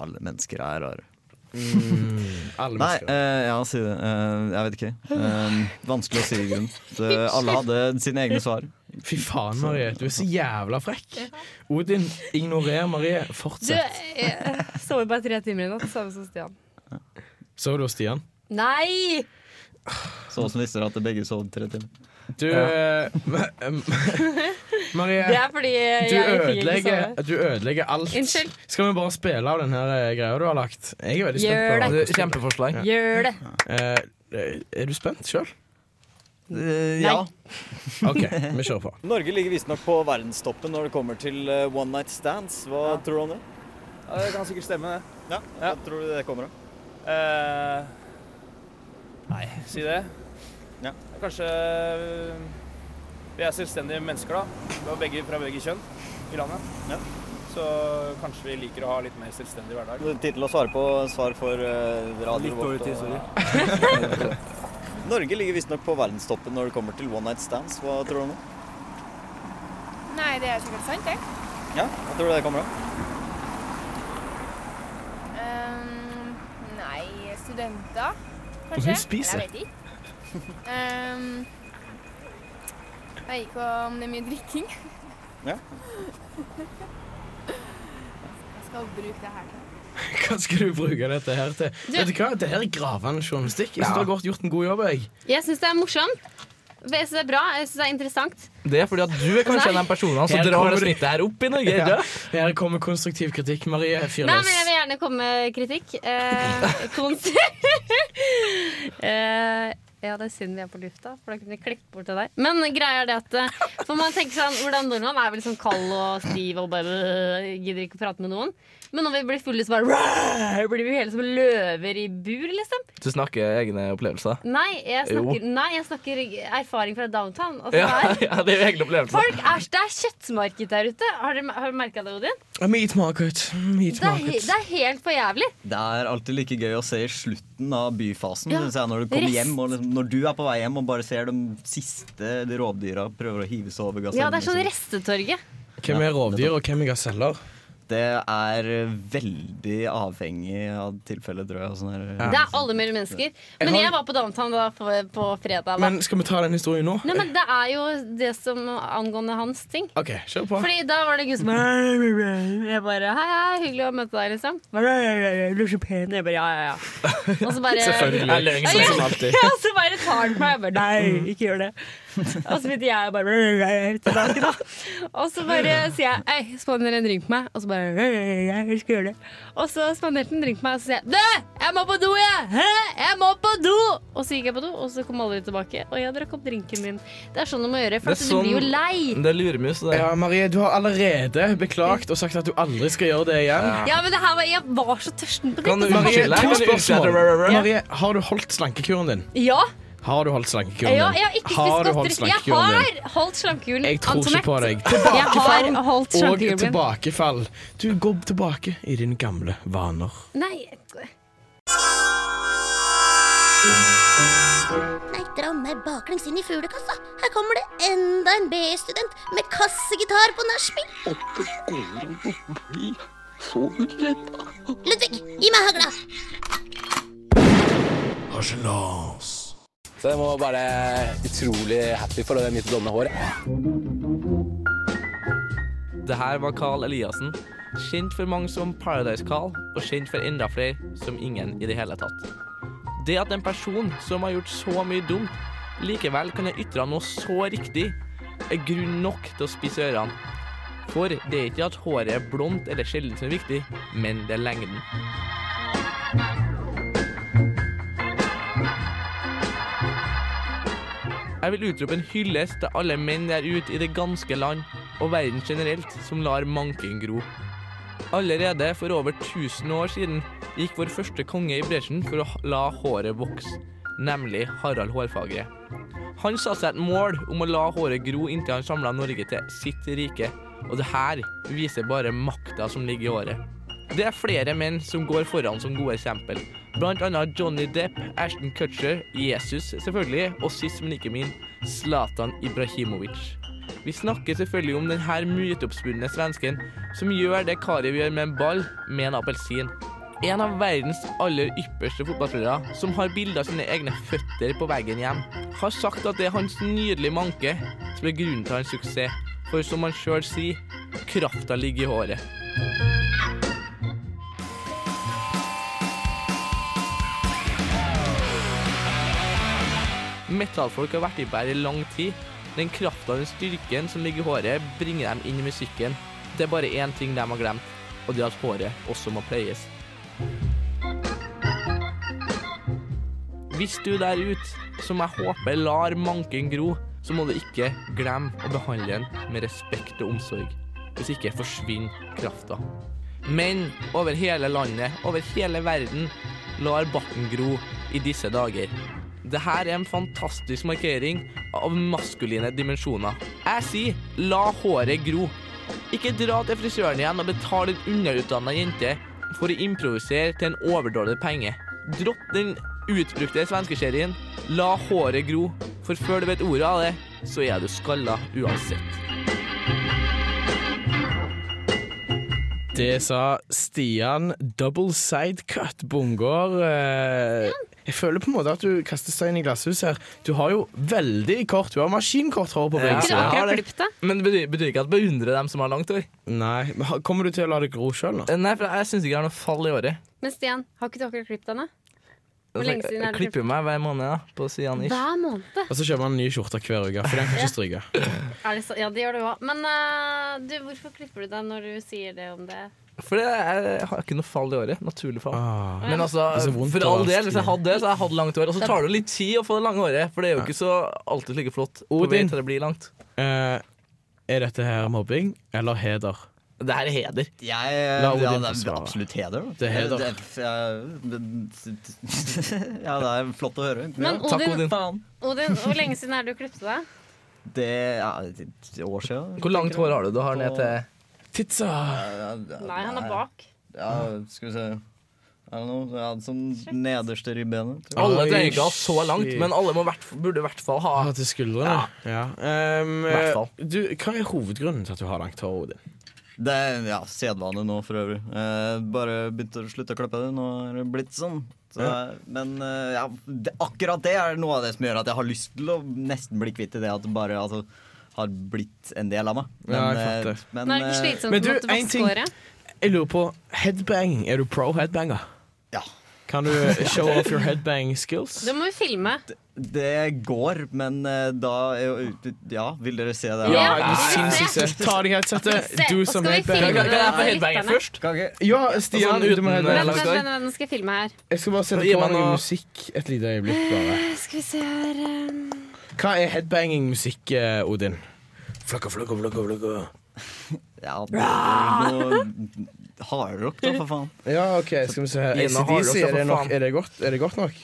[SPEAKER 6] Alle mennesker er rare.
[SPEAKER 3] Mm. Alle
[SPEAKER 6] Nei,
[SPEAKER 3] mennesker.
[SPEAKER 6] eh, ja, si det. Eh, jeg vet ikke. Eh, vanskelig å si i grunnen. Det- Alle hadde sine egne svar.
[SPEAKER 3] Fy faen, Marie. Du er så jævla frekk. Odin, ignorer Marie.
[SPEAKER 2] Du, eh,
[SPEAKER 3] Fortsett.
[SPEAKER 2] jeg sover bare tre timer i natt, samme som Stian.
[SPEAKER 3] Så du hos Stian?
[SPEAKER 2] Nei!
[SPEAKER 6] Så som visste dere at begge sov tre timer.
[SPEAKER 3] Du eh, (laughs) ma- em, Marie,
[SPEAKER 2] Det er fordi jeg
[SPEAKER 3] du
[SPEAKER 2] fikk ikke
[SPEAKER 3] ødelegger,
[SPEAKER 2] sove.
[SPEAKER 3] du ødelegger alt.
[SPEAKER 2] Unnskyld.
[SPEAKER 3] Skal vi bare spille av den her eh, greia du har lagt? Jeg er veldig
[SPEAKER 2] Gjør
[SPEAKER 3] spent. på
[SPEAKER 8] Det er
[SPEAKER 3] hvordan det
[SPEAKER 8] Kjempeforslag.
[SPEAKER 2] Gjør det.
[SPEAKER 3] blir. Eh, Er du spent
[SPEAKER 8] (laughs)
[SPEAKER 3] sjøl?
[SPEAKER 6] Eh,
[SPEAKER 2] ja.
[SPEAKER 3] OK, vi kjører på.
[SPEAKER 6] Norge ligger visstnok på verdenstoppen når det kommer til eh, one night stands. Hva tror du om det?
[SPEAKER 1] Det kan sikkert stemme, det.
[SPEAKER 6] Ja, Hva tror du det kommer av?
[SPEAKER 1] Eh, nei, si det.
[SPEAKER 6] Ja.
[SPEAKER 1] Kanskje eh, Vi er selvstendige mennesker, da. Vi er begge fra begge kjønn i landet.
[SPEAKER 6] Ja.
[SPEAKER 1] Så kanskje vi liker å ha litt mer selvstendig hverdag.
[SPEAKER 6] Tid til å svare på svar for eh, radio.
[SPEAKER 1] Litt dårlig
[SPEAKER 6] vårt
[SPEAKER 1] tid,
[SPEAKER 6] og- (laughs) Norge ligger visstnok på verdenstoppen når det kommer til one night stands. Hva tror du om det?
[SPEAKER 9] Nei, det er sikkert sant, det.
[SPEAKER 6] Ja, hva tror du det kommer av?
[SPEAKER 9] Ehm, nei, studenter,
[SPEAKER 3] Og
[SPEAKER 9] kanskje?
[SPEAKER 3] hun spiser.
[SPEAKER 9] Eller Jeg vet ikke. Ehm, jeg vet ikke om det er mye drikking.
[SPEAKER 6] Ja.
[SPEAKER 9] Hva skal jeg bruke det her til?
[SPEAKER 3] Hva skal du bruke dette her til? Vet du hva? Dette her er gravende journalistikk. Jeg synes du har godt gjort en god jobb. Jeg.
[SPEAKER 2] Jeg syns det er morsomt. Jeg syns det er bra. Jeg syns det er interessant.
[SPEAKER 8] Det er fordi at du er kanskje en av de personene som
[SPEAKER 3] Her
[SPEAKER 8] drar
[SPEAKER 3] kommer
[SPEAKER 8] det
[SPEAKER 3] det.
[SPEAKER 8] snittet her opp i Norge. ikke sant?
[SPEAKER 3] Her kommer konstruktiv kritikk. Marie, fyr
[SPEAKER 2] Nei,
[SPEAKER 3] løs.
[SPEAKER 2] men jeg vil gjerne komme med kritikk. Eh, konsert (laughs) eh, Ja, det er synd vi er på lufta, for da kunne vi klippet bort det der. Men greia er det at eh, For man tenker sånn, hvordan nordmann er vel sånn kald og stiv og bare øh, gidder ikke å prate med noen. Men når vi blir fulle, så bare rah, blir vi hele som løver i bur, liksom.
[SPEAKER 8] Du snakker egne opplevelser.
[SPEAKER 2] Nei, jeg
[SPEAKER 8] Jo.
[SPEAKER 2] snakker, nei, jeg snakker erfaring fra downtown. Altså,
[SPEAKER 8] Ja,
[SPEAKER 2] det er-
[SPEAKER 8] (laughs) ja, det er jo egne opplevelser.
[SPEAKER 2] Folk er, det er kjøttmarked der ute. Har dere- har du merka det, Odin?
[SPEAKER 3] Meat market. Meat
[SPEAKER 2] Det er, he-
[SPEAKER 3] market.
[SPEAKER 2] det er helt for jævlig.
[SPEAKER 6] Det er alltid like gøy å se i slutten av byfasen.
[SPEAKER 2] Ja.
[SPEAKER 6] synes jeg, når du kommer
[SPEAKER 2] Rest.
[SPEAKER 6] hjem, og liksom, når du er på vei hjem og bare ser de siste rovdyra prøver å hive seg over gasellen.
[SPEAKER 2] Ja, det er sånn restetorget.
[SPEAKER 3] Hvem er rovdyr, og hvem er gaseller?
[SPEAKER 6] Det er veldig avhengig av tilfellet, tror jeg. og Sånn her,
[SPEAKER 2] Det er alle mulige mennesker. Men
[SPEAKER 3] har-
[SPEAKER 2] jeg var på downtown da på, på fredag. Da.
[SPEAKER 3] Men skal vi ta den historien nå?
[SPEAKER 2] Nei, men det er jo det som angående hans ting.
[SPEAKER 3] OK, kjør på.
[SPEAKER 2] Fordi da var det en gutt som Jeg bare Hei, hei, hyggelig å møte deg, liksom. Du er så pen. Jeg bare ja, ja, ja. Og så (laughs) bare
[SPEAKER 8] Jeg løy
[SPEAKER 2] Ja,
[SPEAKER 8] sånn
[SPEAKER 2] ja.
[SPEAKER 8] som alltid.
[SPEAKER 2] Ja, (laughs) og så bare tar han på meg. Jeg bare nei, ikke gjør det. Og så begynte jeg bare (laughs) tilbake, da. Og så bare sier jeg ei, spander en drink på meg. Og så bare (laughs) jeg skal gjøre det. Og så spanderte han en drink på meg, og så sier jeg du, jeg må på do, jeg! Hæ? Jeg må på do! Og så gikk jeg på do, og så kom alle tilbake. Og jeg drakk opp drinken min. Det er sånn du må gjøre, for
[SPEAKER 8] Det er
[SPEAKER 2] at du blir jo
[SPEAKER 8] sånn-
[SPEAKER 2] lei.
[SPEAKER 8] Det er luremus. Det.
[SPEAKER 3] Ja, Marie, du har allerede beklagt og sagt at du aldri skal gjøre det igjen.
[SPEAKER 2] Ja, men det her var, jeg var så tørsten på
[SPEAKER 8] Kan du
[SPEAKER 2] drikke.
[SPEAKER 3] Marie,
[SPEAKER 8] unnskylde?
[SPEAKER 3] to
[SPEAKER 8] Kan du unnskylde?
[SPEAKER 3] spørsmål.
[SPEAKER 8] Rø, rø, rø.
[SPEAKER 3] Marie, har du holdt slankekuren din?
[SPEAKER 2] Ja,
[SPEAKER 1] Har du holdt slankekuren?
[SPEAKER 2] Ja,
[SPEAKER 1] din?
[SPEAKER 2] jeg har ikke
[SPEAKER 1] Har du
[SPEAKER 2] spist
[SPEAKER 1] holdt
[SPEAKER 2] godteri. Jeg
[SPEAKER 1] slankekuren din?
[SPEAKER 2] har holdt slankekulen.
[SPEAKER 1] Jeg tror ikke
[SPEAKER 2] Antoinette.
[SPEAKER 1] på deg.
[SPEAKER 2] Jeg har holdt
[SPEAKER 1] Og
[SPEAKER 2] slankekulen min.
[SPEAKER 1] tilbakefall. Du går tilbake i dine gamle vaner.
[SPEAKER 2] Nei,
[SPEAKER 5] Nei, dra meg baklengs inn i fuglekassa. Her kommer det enda en B-student med kassegitar på nachspiel. Ludvig, gi meg hagla.
[SPEAKER 10] Så jeg må bare utrolig happy for det mitt blonde hår.
[SPEAKER 3] Det her var Carl Eliassen, kjent for mange som Paradise-Carl, og kjent for enda flere som ingen i det hele tatt. Det at en person som har gjort så mye dumt, likevel kan ha ytra noe så riktig, er grunn nok til å spisse ørene. For det er ikke at håret er blondt eller sjelden som er viktig, men det er lengden. Jeg vil utrope en hyllest til alle menn der ute i det ganske land og verden generelt som lar manken gro. Allerede for over 1000 år siden gikk vår første konge i bresjen for å h- la håret vokse, nemlig Harald Hårfagre. Han satte seg et mål om å la håret gro inntil han samla Norge til sitt rike, og det her viser bare makta som ligger i håret. Det er flere menn som går foran som gode eksempel. Blant annet Johnny Depp, Ashton Kutcher, Jesus selvfølgelig, og sist, men ikke min, Zlatan Ibrahimovic. Vi snakker selvfølgelig om denne myteoppspunne svensken som gjør det Kari gjør med en ball med en appelsin. En av verdens aller ypperste fotballspillere som har bilder av sine egne føtter på veggen hjem, har sagt at det er hans nydelige manke som er grunnen til hans suksess. For som han sjøl sier, krafta ligger i håret. Metallfolk har vært i bær i lang tid. Den krafta og den styrken som ligger i håret, bringer dem inn i musikken. Det er bare én ting de har glemt, og det er at håret også må pleies. Hvis du der ute, som jeg håper lar manken gro, så må du ikke glemme å behandle den med respekt og omsorg. Hvis ikke forsvinner krafta. Menn over hele landet, over hele verden, lar barten gro i disse dager. Dette er en fantastisk markering av maskuline dimensjoner. Jeg sier la håret gro. Ikke dra til frisøren igjen og betal en underutdanna jente for å improvisere til en overdådig penge. Dropp den utbrukte svenskeserien. La håret gro, for før du vet ordet av det, så er du skalla uansett.
[SPEAKER 1] Det sa Stian Double Side Cut Bungård. Eh, jeg føler på en måte at du kaster stein i glasshuset her. Du har jo veldig kort Du har maskinkort hår på begge
[SPEAKER 3] Ja.
[SPEAKER 1] sider.
[SPEAKER 2] Ikke
[SPEAKER 3] har
[SPEAKER 2] dere
[SPEAKER 3] det.
[SPEAKER 2] klippet det?
[SPEAKER 3] Men det betyr, betyr ikke at beundre dem som har langt hår.
[SPEAKER 1] Nei, men har- Kommer du til å la det gro sjøl nå?
[SPEAKER 3] Eh, Nei, for jeg syns ikke jeg har noe fall i året.
[SPEAKER 2] Men Stian, har ikke dere klippet henne? Hvor lenge siden er
[SPEAKER 3] Jeg
[SPEAKER 2] det
[SPEAKER 3] klipper meg hver måned da, på sidene. ish.
[SPEAKER 2] Hver måned.
[SPEAKER 1] Og så kjøper man en ny skjorte hver uke, for den kan ikke stryke.
[SPEAKER 2] Er det så? Ja, det gjør du òg. Men eh, du, hvorfor klipper du deg når du sier det om det?
[SPEAKER 3] For det, jeg har ikke noe fall i året. Naturlig fall.
[SPEAKER 1] Ah.
[SPEAKER 3] Men altså,
[SPEAKER 1] Det er så vondt
[SPEAKER 3] for
[SPEAKER 1] å
[SPEAKER 3] all
[SPEAKER 1] ha
[SPEAKER 3] del,
[SPEAKER 1] stil.
[SPEAKER 3] hvis jeg hadde det, så hadde jeg hatt langt hår. Og så tar det litt tid å få det lange håret, for det er jo ikke så alltid like flott på vei
[SPEAKER 1] Odin.
[SPEAKER 3] til det blir langt.
[SPEAKER 1] Eh, er dette her mobbing eller heder?
[SPEAKER 3] Det her er heder.
[SPEAKER 6] Jeg,
[SPEAKER 1] La
[SPEAKER 6] ja,
[SPEAKER 1] Odin
[SPEAKER 6] det
[SPEAKER 1] svare.
[SPEAKER 6] er absolutt heder. da.
[SPEAKER 1] Det er heder.
[SPEAKER 6] Det, ja, ja, det er (laughs) flott å høre.
[SPEAKER 2] Men
[SPEAKER 6] ja.
[SPEAKER 3] Takk,
[SPEAKER 2] Odin-
[SPEAKER 3] Odin.
[SPEAKER 6] Faen.
[SPEAKER 2] Odin, hvor lenge siden er det du klippet deg?
[SPEAKER 6] Det ja, et år siden.
[SPEAKER 3] Hvor langt hår har du? Du har ned til
[SPEAKER 1] Titsa!
[SPEAKER 6] Ja, ja,
[SPEAKER 2] Nei, han er bak.
[SPEAKER 6] Ja, skal vi se. I don't know. Jeg hadde sånn nederste ribbenet. tror jeg.
[SPEAKER 1] Oi,
[SPEAKER 3] Alle trenger ikke ha så langt,
[SPEAKER 1] shit.
[SPEAKER 3] men alle må hvert, burde i hvert fall ha
[SPEAKER 1] Ah, til skuldrene? Ja. Ehm,
[SPEAKER 3] hvert fall.
[SPEAKER 1] du, hva er hovedgrunnen til at du har langt hår, Odin?
[SPEAKER 6] Det er ja, sedvane nå for øvrig. Eh, bare begynte å slutte å klippe det. Nå er det blitt sånn. Så,
[SPEAKER 1] Ja.
[SPEAKER 6] Men eh, ja, det, akkurat det er noe av det som gjør at jeg har lyst til å nesten bli kvitt i det at det bare altså, har blitt en del av meg.
[SPEAKER 1] Ja, jeg
[SPEAKER 6] eh,
[SPEAKER 1] fatter.
[SPEAKER 6] men,
[SPEAKER 2] Nå er det ikke
[SPEAKER 6] eh,
[SPEAKER 2] slitsomt
[SPEAKER 1] men
[SPEAKER 2] å
[SPEAKER 1] du,
[SPEAKER 2] måtte
[SPEAKER 1] en ting-
[SPEAKER 2] vaske håret?
[SPEAKER 1] Jeg lurer på headbang. Er du pro headbanger?
[SPEAKER 6] Ja.
[SPEAKER 1] Kan (laughs) du show off your headbang skills?
[SPEAKER 2] Det må vi filme.
[SPEAKER 6] Det går, men eh, da eh, Ja, vil dere se det?
[SPEAKER 1] Ja,
[SPEAKER 2] Ja.
[SPEAKER 1] du sinnssykt
[SPEAKER 2] Ja.
[SPEAKER 1] søt. Ta deg headsetet,
[SPEAKER 2] Se,
[SPEAKER 1] do
[SPEAKER 2] og
[SPEAKER 1] som
[SPEAKER 2] skal vi
[SPEAKER 1] headbang.
[SPEAKER 2] filme
[SPEAKER 3] Kan kan jeg få
[SPEAKER 2] Lytterne.
[SPEAKER 3] headbanger først?
[SPEAKER 6] Kan ikke-
[SPEAKER 1] eh, Ja,
[SPEAKER 3] Og
[SPEAKER 1] Stian,
[SPEAKER 3] sånn
[SPEAKER 1] du må
[SPEAKER 3] uten-
[SPEAKER 1] headbang.
[SPEAKER 2] Vent,
[SPEAKER 3] langt
[SPEAKER 2] vent,
[SPEAKER 3] hår.
[SPEAKER 2] vent, vent, nå skal jeg filme her.
[SPEAKER 1] Jeg skal bare sette
[SPEAKER 3] Gi
[SPEAKER 1] på
[SPEAKER 3] meg
[SPEAKER 1] noe
[SPEAKER 3] noe-
[SPEAKER 1] musikk et lite øyeblikk. bare
[SPEAKER 2] Skal vi se her um,
[SPEAKER 1] Hva er headbanging-musikk, eh, Odin? Flakka, flakka, flakka, flakka.
[SPEAKER 6] Ja, det er noe hardrock, da, for faen.
[SPEAKER 1] Ja, OK, skal vi se her.
[SPEAKER 3] Gina Hardrock,
[SPEAKER 1] ACDC,
[SPEAKER 3] ja,
[SPEAKER 1] er, det
[SPEAKER 3] for
[SPEAKER 1] nok-
[SPEAKER 3] faen.
[SPEAKER 1] er, det godt- er det godt nok?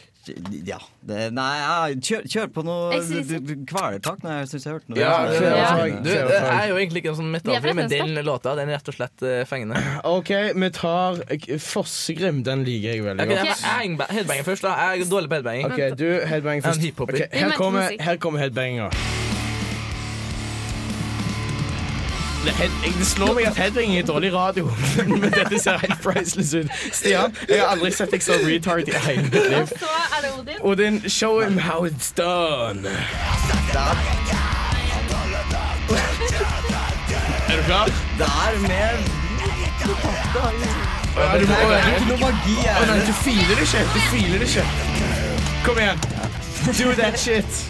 [SPEAKER 6] Ja. Det, nei, ja, kjør, kjør på noe
[SPEAKER 11] Jeg synes-
[SPEAKER 6] du- du- Kvelertak. Nei, jeg syns jeg hørte noe.
[SPEAKER 3] Ja, det,
[SPEAKER 1] Kvelertak,
[SPEAKER 3] Du, det
[SPEAKER 1] kvelertak.
[SPEAKER 3] er jo egentlig ikke en sånn
[SPEAKER 11] Vi er fra
[SPEAKER 3] metafyr, men den
[SPEAKER 11] Tønsberg.
[SPEAKER 3] låta den er rett og slett eh, fengende.
[SPEAKER 1] OK, vi tar eh, Fossegrim. Den liker jeg veldig
[SPEAKER 3] Ok, jeg
[SPEAKER 1] godt.
[SPEAKER 3] headba- headbanger først, da. Jeg er dårlig på headbanging.
[SPEAKER 1] OK, du headbang
[SPEAKER 3] En
[SPEAKER 1] først.
[SPEAKER 3] hiphoper.
[SPEAKER 1] Ok,
[SPEAKER 3] Vi
[SPEAKER 1] her,
[SPEAKER 11] merker
[SPEAKER 1] kommer,
[SPEAKER 11] musikk.
[SPEAKER 1] her kommer headbanger. Det, head, jeg- det slår meg at headbanging er dårlig radio, (laughs) men dette ser helt priceless ut. Stian, jeg har aldri sett deg så retard i hele mitt liv.
[SPEAKER 2] Så er det Odin.
[SPEAKER 1] Odin, show him how it's done. Er du klar?
[SPEAKER 6] Det er mer
[SPEAKER 1] Ja, du må,
[SPEAKER 6] Det er
[SPEAKER 1] å,
[SPEAKER 6] ikke noe magi
[SPEAKER 1] å, nei,
[SPEAKER 6] her.
[SPEAKER 1] du filer det ikke. Du filer det ikke. Kom igjen. Do that shit.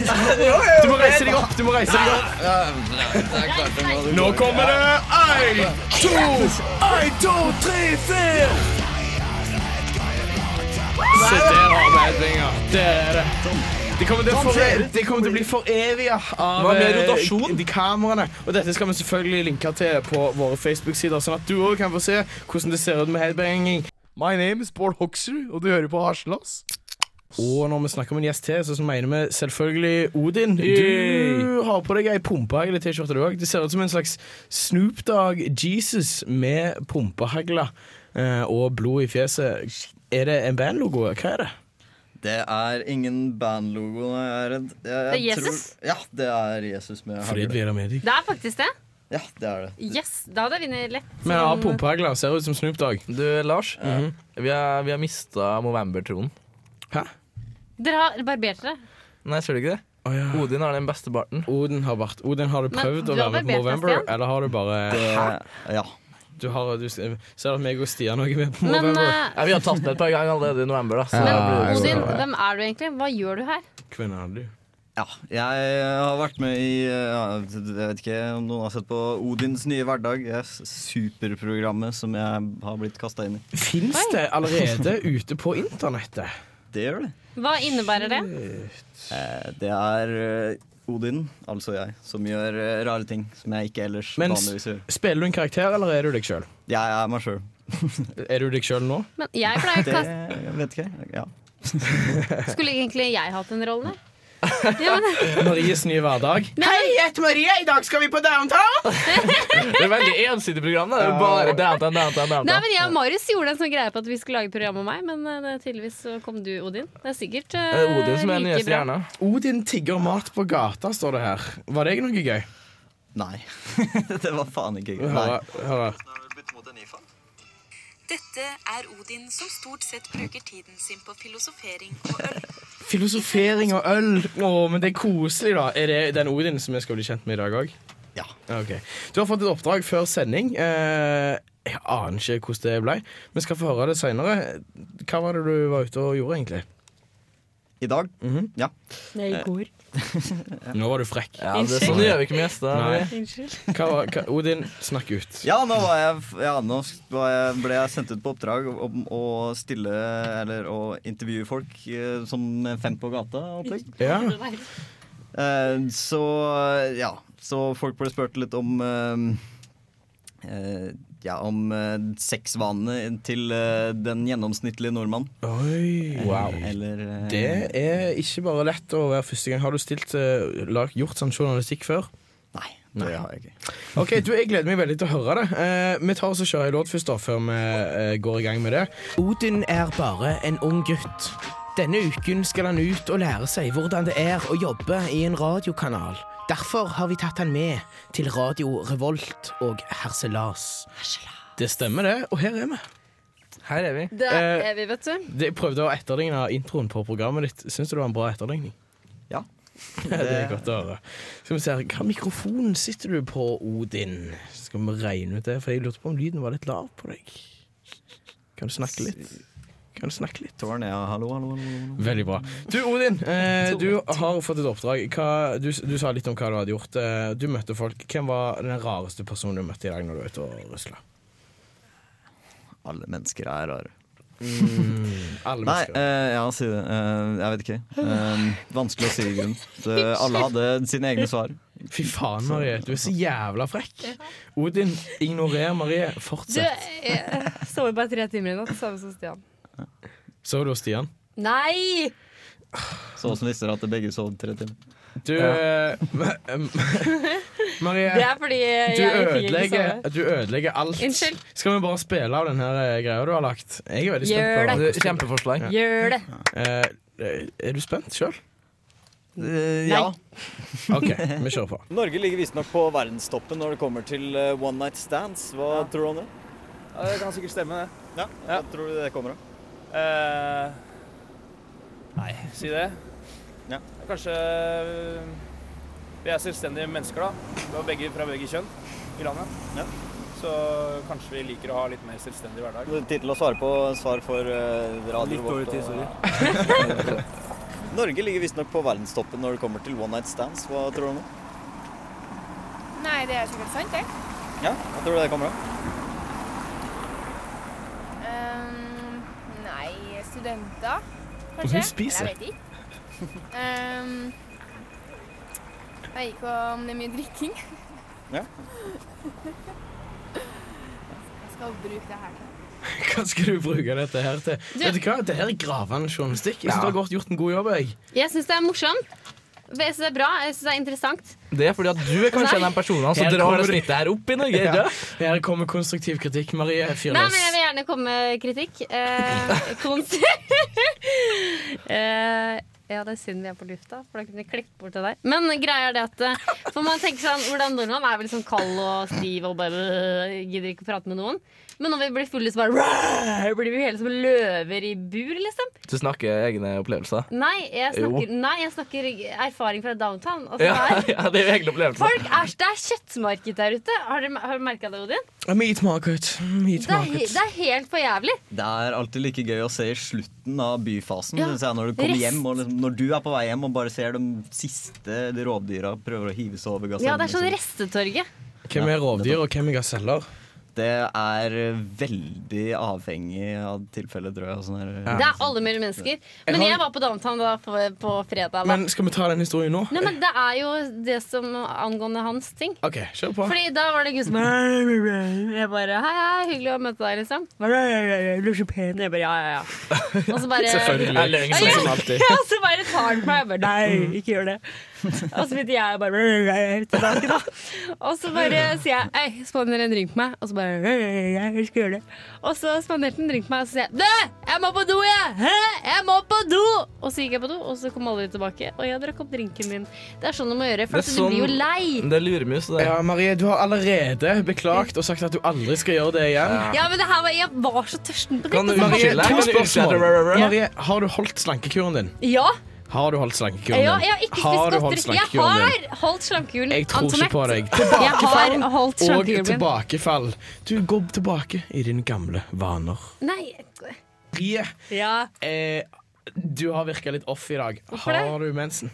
[SPEAKER 1] Du må reise deg opp. Du må reise deg opp. Nå kommer det. Ei, to, ei, to, tre, fire. Se, der har vi headbanger. Det er det. Det kommer til å, for, det kommer til å bli foreviget av
[SPEAKER 3] Hva med
[SPEAKER 1] eh,
[SPEAKER 3] rotasjon?
[SPEAKER 1] de kameraene. Og dette skal vi selvfølgelig linke til på våre Facebook-sider, sånn at du òg kan få se hvordan det ser ut med headbanging. My name is Bård Hoksrud, og du hører på Haslas. Og når vi snakker om en gjest til, så mener vi selvfølgelig Odin. Du
[SPEAKER 3] Yay.
[SPEAKER 1] har på deg ei pumpehagle T-skjorte, du òg. Det ser ut som en slags Snoop Dogg Jesus med pumpehagla eh, og blod i fjeset. Er det en bandlogo? Hva er det?
[SPEAKER 6] Det er ingen bandlogo. Jeg er redd. Jeg, jeg
[SPEAKER 2] Det er Jesus?
[SPEAKER 6] Tror, ja, det er Jesus med
[SPEAKER 1] Fred
[SPEAKER 6] hagle.
[SPEAKER 1] Vera Medik.
[SPEAKER 2] Det er faktisk det.
[SPEAKER 6] Ja, det er det.
[SPEAKER 2] Yes, da hadde jeg vunnet lett.
[SPEAKER 1] Men jeg har pumpehagla, ser ut som Snoop Dogg.
[SPEAKER 3] Du, Lars. Mhm. Vi har, vi har mista Movember-troen.
[SPEAKER 1] Hæ?
[SPEAKER 2] Dere har barbert dere.
[SPEAKER 3] Nei, ser du ikke det?
[SPEAKER 1] Å ja.
[SPEAKER 3] Odin har den beste barten.
[SPEAKER 1] Odin har vært Odin, har du
[SPEAKER 2] Men
[SPEAKER 1] prøvd
[SPEAKER 2] du
[SPEAKER 1] å
[SPEAKER 2] har
[SPEAKER 1] være med på
[SPEAKER 2] barbert deg,
[SPEAKER 1] Movember,
[SPEAKER 2] Stian?
[SPEAKER 1] eller har du bare
[SPEAKER 6] Det- Ja.
[SPEAKER 1] Du, har, du ser at meg og Stian også er med på
[SPEAKER 2] Men
[SPEAKER 1] Movember.
[SPEAKER 2] eh,
[SPEAKER 3] Ja, vi har tatt den et par ganger allerede i november. da så
[SPEAKER 2] men
[SPEAKER 3] da blir det-
[SPEAKER 2] Odin, hvem er du egentlig? Hva gjør du her?
[SPEAKER 1] Hvem er du?
[SPEAKER 6] Ja, jeg har vært med i ja, Jeg vet ikke om noen har sett på Odins nye hverdag. Det er superprogrammet som jeg har blitt kasta inn i.
[SPEAKER 1] Fins det allerede ute på internettet?
[SPEAKER 6] Det gjør det.
[SPEAKER 2] Hva innebærer det?
[SPEAKER 6] Eh, Det er eh, Odin, altså jeg, som gjør eh, rare ting som jeg ikke ellers
[SPEAKER 1] Men s-
[SPEAKER 6] vanligvis gjør.
[SPEAKER 1] Spiller du en karakter, eller er du deg sjøl?
[SPEAKER 6] Jeg er meg sjøl.
[SPEAKER 1] Er du deg sjøl nå?
[SPEAKER 2] Men jeg pleier å
[SPEAKER 6] Det
[SPEAKER 2] kaste
[SPEAKER 6] jeg vet ikke jeg. Ja.
[SPEAKER 2] Skulle egentlig jeg hatt en rolle? Ja, men,
[SPEAKER 1] Maries nye hverdag.
[SPEAKER 2] Hei,
[SPEAKER 1] jeg heter Marie. I dag skal vi på downtown!
[SPEAKER 3] Det er et veldig ensidig program. da Det er jo bare downtown, downtown,
[SPEAKER 2] nei,
[SPEAKER 3] downtown.
[SPEAKER 2] men jeg og Marius gjorde en sånn greie på at vi skulle lage et program om meg, men eh, det, tydeligvis så kom du, Odin. Det er sikkert eh,
[SPEAKER 3] Det er Odin som er den nye
[SPEAKER 2] like (laughs) bra.
[SPEAKER 3] stjerna.
[SPEAKER 1] Odin tigger mat på gata, står det her. Var det noe gøy?
[SPEAKER 6] Nei. (laughs) det var faen ikke gøy. Nei.
[SPEAKER 1] Høre, høre.
[SPEAKER 7] Dette er Odin som stort sett bruker tiden sin på filosofering og øl.
[SPEAKER 1] Filosofering og øl. Å, men det er koselig, da. Er det den Odin som vi skal bli kjent med i dag òg?
[SPEAKER 6] Ja.
[SPEAKER 1] Ok. Du har fått et oppdrag før sending. Eh, jeg aner ikke hvordan det ble. Vi skal få høre det seinere. Hva var det du var ute og gjorde, egentlig?
[SPEAKER 6] I dag? Ja.
[SPEAKER 2] Nei, i går.
[SPEAKER 1] Nå var du frekk.
[SPEAKER 3] Ja, det er sånn gjør vi ikke med gjester.
[SPEAKER 1] Nei.
[SPEAKER 2] Unnskyld.
[SPEAKER 1] Hva var, hva, Odin, snakk ut.
[SPEAKER 6] Ja, nå, var jeg, ja, nå var jeg, ble jeg sendt ut på oppdrag om å stille eller å intervjue folk eh, som fem på gata. Opplegg.
[SPEAKER 1] Ja.
[SPEAKER 6] Eh, så ja. Så folk ble spurt litt om eh, eh, ja, om eh, sexvanene til eh, den gjennomsnittlige nordmann.
[SPEAKER 1] Oi. Wow.
[SPEAKER 6] Eller eh,
[SPEAKER 1] Det er ikke bare lett å være første gang. Har du stilt, eh, lag- gjort sånn journalistikk før?
[SPEAKER 6] Nei, det
[SPEAKER 1] Nei.
[SPEAKER 6] har jeg ikke.
[SPEAKER 1] Ok, du, Jeg gleder meg veldig til å høre det. Eh, vi tar oss og kjører en låt først, da, før vi eh, går i gang med det. Odin er bare en ung gutt. Denne uken skal han ut og lære seg hvordan det er å jobbe i en radiokanal. Derfor har vi tatt han med til Radio Revolt og Herselas. Det stemmer, det. Og her er vi.
[SPEAKER 3] Her er vi.
[SPEAKER 11] Der
[SPEAKER 1] Eh,
[SPEAKER 11] er vi, vet du.
[SPEAKER 1] Det- Jeg prøvde å etterligne introen på programmet ditt. Syns du det var en bra etterligning? (laughs)
[SPEAKER 6] Ja.
[SPEAKER 1] Det er godt å høre. Skal vi se her, Hva mikrofon sitter du på, Odin? Skal vi regne ut det? For jeg lurte på om lyden var litt lav på deg. Kan du snakke litt? Kan du snakke litt?
[SPEAKER 6] Tårn, ja. Hallo, hallo, hallo. hallo.
[SPEAKER 1] Veldig bra. Du, Odin, (laughs) eh, du har fått et oppdrag. Hva, du, du sa litt om hva du hadde gjort. Eh, du møtte folk. Hvem var den rareste personen du møtte i dag når du var ute og rusla?
[SPEAKER 6] Alle mennesker er rare.
[SPEAKER 1] Mm. Alle
[SPEAKER 6] Nei,
[SPEAKER 1] mennesker.
[SPEAKER 6] eh, ja, si det. Eh, jeg vet ikke. Eh, vanskelig å si i grunnen. Så eh, Alle hadde sine egne svar.
[SPEAKER 1] Fy faen, Marie. Du er så jævla frekk. Odin, ignorer Marie.
[SPEAKER 2] Du
[SPEAKER 1] Fortsett.
[SPEAKER 2] jeg sover bare tre timer i natt, samme som Stian.
[SPEAKER 1] Så du hos Stian?
[SPEAKER 2] Nei!
[SPEAKER 6] Så åssen visste dere at begge sov tre timer?
[SPEAKER 1] Du eh, (laughs) Marie,
[SPEAKER 2] Det er fordi jeg
[SPEAKER 1] du
[SPEAKER 2] ikke fikk ikke
[SPEAKER 1] ødelegger,
[SPEAKER 2] sove.
[SPEAKER 1] du ødelegger alt.
[SPEAKER 2] Unnskyld.
[SPEAKER 1] Skal vi bare spille av den her eh, greia du har lagt? Jeg er veldig
[SPEAKER 2] Gjør
[SPEAKER 1] spent. på
[SPEAKER 2] det.
[SPEAKER 1] Kjempeforslag.
[SPEAKER 2] Gjør det.
[SPEAKER 1] er du spent sjøl?
[SPEAKER 6] ja.
[SPEAKER 1] OK, vi kjører på.
[SPEAKER 12] Eh, Norge ligger visstnok på verdenstoppen når det kommer til eh, one night stands. Hva tror du om det?
[SPEAKER 13] Ja, det kan sikkert stemme, det.
[SPEAKER 12] Ja, Hva tror du det kommer av?
[SPEAKER 13] Eh, nei, si det. Kanskje eh, Vi er selvstendige mennesker, da. Vi er begge fra begge kjønn i landet. Så kanskje vi liker å ha litt mer selvstendig hverdag.
[SPEAKER 12] Tittel og svare på svar for eh, radio.
[SPEAKER 13] Litt dårlig tid,
[SPEAKER 12] sorry. (laughs) Norge ligger visstnok på verdenstoppen når det kommer til one night stands. Hva tror du om det?
[SPEAKER 11] Nei, det er sikkert sant, det.
[SPEAKER 12] Ja, Hva tror du det kommer av?
[SPEAKER 11] Ehm, nei, studenter,
[SPEAKER 1] Og
[SPEAKER 11] kanskje?
[SPEAKER 1] hun
[SPEAKER 11] Eller
[SPEAKER 1] spiser.
[SPEAKER 11] Jeg vet ikke. Ehm, jeg vet ikke om det er mye drikking.
[SPEAKER 12] Ja.
[SPEAKER 11] Jeg skal bruke det her til.
[SPEAKER 1] Hva skal du bruke dette her til?
[SPEAKER 2] Du-
[SPEAKER 1] Vet du hva? Dette er gravende journalistikk. Jeg synes
[SPEAKER 3] Ja.
[SPEAKER 1] Du har godt gjort en god jobb. jeg
[SPEAKER 2] Jeg syns det er morsomt. Jeg syns det er bra. Jeg syns det er interessant.
[SPEAKER 3] Det er fordi at du er kanskje en av de personene som
[SPEAKER 1] Her
[SPEAKER 3] drar
[SPEAKER 1] kommer-
[SPEAKER 3] det snittet her opp i Norge.
[SPEAKER 1] Ja.
[SPEAKER 3] Ja.
[SPEAKER 1] Her kommer konstruktiv kritikk. Marie fyr
[SPEAKER 2] Nei,
[SPEAKER 1] løs.
[SPEAKER 2] men jeg vil gjerne komme med kritikk. Eh,
[SPEAKER 3] (laughs)
[SPEAKER 2] konst- (laughs) eh, ja, det er synd vi er på lufta, for da kunne vi klippet bort det der. Men greia er det at eh, For man tenker sånn, hvordan nordmann er vel sånn kald og stiv og bare øh, gidder ikke å prate med noen. Men når vi blir fulle, så bare rrrr, blir vi hele som løver i bur, liksom.
[SPEAKER 3] Du snakker egne opplevelser.
[SPEAKER 2] Nei, jeg
[SPEAKER 3] Jo.
[SPEAKER 2] snakker, nei, jeg snakker erfaring fra downtown. Altså,
[SPEAKER 3] Ja,
[SPEAKER 2] det er-
[SPEAKER 3] ja, det er jo egne opplevelser.
[SPEAKER 2] Folk er, det er kjøttmarked der ute. Har du, har du merka det, Odin?
[SPEAKER 1] Meat market. Meat
[SPEAKER 2] Det er, he-
[SPEAKER 1] market.
[SPEAKER 2] det er helt for jævlig.
[SPEAKER 6] Det er alltid like gøy å se i slutten av byfasen.
[SPEAKER 2] Ja.
[SPEAKER 6] synes jeg, Når du kommer
[SPEAKER 2] Rest.
[SPEAKER 6] hjem, og liksom, når du er på vei hjem og bare ser de siste rovdyra prøver å hive seg over
[SPEAKER 3] Altså,
[SPEAKER 2] Ja, det er sånn
[SPEAKER 6] gasellen.
[SPEAKER 2] restetorget.
[SPEAKER 1] Hvem er rovdyr, og hvem er gaseller?
[SPEAKER 6] det er veldig avhengig av tilfellet, tror jeg. og Sånn her,
[SPEAKER 2] Det er alle mulige mennesker.
[SPEAKER 1] Jeg
[SPEAKER 2] Men
[SPEAKER 1] har-
[SPEAKER 2] jeg var på downtown da på, på fredag. Da.
[SPEAKER 1] Men skal vi ta den historien nå?
[SPEAKER 2] Nei, men det er jo det som angående hans ting.
[SPEAKER 1] OK, kjør på.
[SPEAKER 2] Fordi da var det gutt som Jeg bare Hei, hei, hyggelig å møte deg, liksom. Du er så pen. Jeg bare ja, ja, ja. Og så bare
[SPEAKER 1] Selvfølgelig. Det er løgn, sånn som alltid.
[SPEAKER 2] Ja, (laughs) og så bare tar han på meg. Jeg bare nei, ikke gjør det. Og så begynte jeg bare tilbake, da. Og så bare sier jeg Hei, spander en drink på meg. Og så bare Jeg skal gjøre det. Og så spanderte han en drink på meg, og så sier jeg Du, jeg må på do, jeg! Hæ? Jeg må på do! Og så gikk jeg på do, og så kom alle tilbake. Og jeg drakk opp drinken min. Det er sånn du må gjøre, for
[SPEAKER 3] Det er
[SPEAKER 2] at du blir jo
[SPEAKER 3] sånn-
[SPEAKER 2] lei.
[SPEAKER 3] Det er luremus. Det.
[SPEAKER 1] Ja, Marie, du har allerede beklagt og sagt at du aldri skal gjøre det igjen.
[SPEAKER 2] Ja, men det her var, jeg var så tørsten på
[SPEAKER 1] Kan du
[SPEAKER 2] drikke. så
[SPEAKER 1] Marie,
[SPEAKER 2] jeg bare-
[SPEAKER 1] to
[SPEAKER 3] Kan du
[SPEAKER 1] spørsmål.
[SPEAKER 3] utsette-
[SPEAKER 1] Marie, har du holdt slankekuren din?
[SPEAKER 2] Ja,
[SPEAKER 1] Har du holdt slankekuren din?
[SPEAKER 2] ja, jeg har ikke
[SPEAKER 1] Har du holdt
[SPEAKER 2] spist godteri. Jeg
[SPEAKER 1] slankekuren din?
[SPEAKER 2] har holdt slankehjulen.
[SPEAKER 1] Jeg tror ikke på deg.
[SPEAKER 2] Tilbakefall jeg har holdt
[SPEAKER 1] Og
[SPEAKER 2] slankehjulen min.
[SPEAKER 1] tilbakefall. Du går tilbake i dine gamle vaner.
[SPEAKER 2] Nei.
[SPEAKER 1] Marie,
[SPEAKER 2] Ja.
[SPEAKER 1] eh, du har virka litt off i dag.
[SPEAKER 2] Hvorfor det?
[SPEAKER 1] Har du mensen?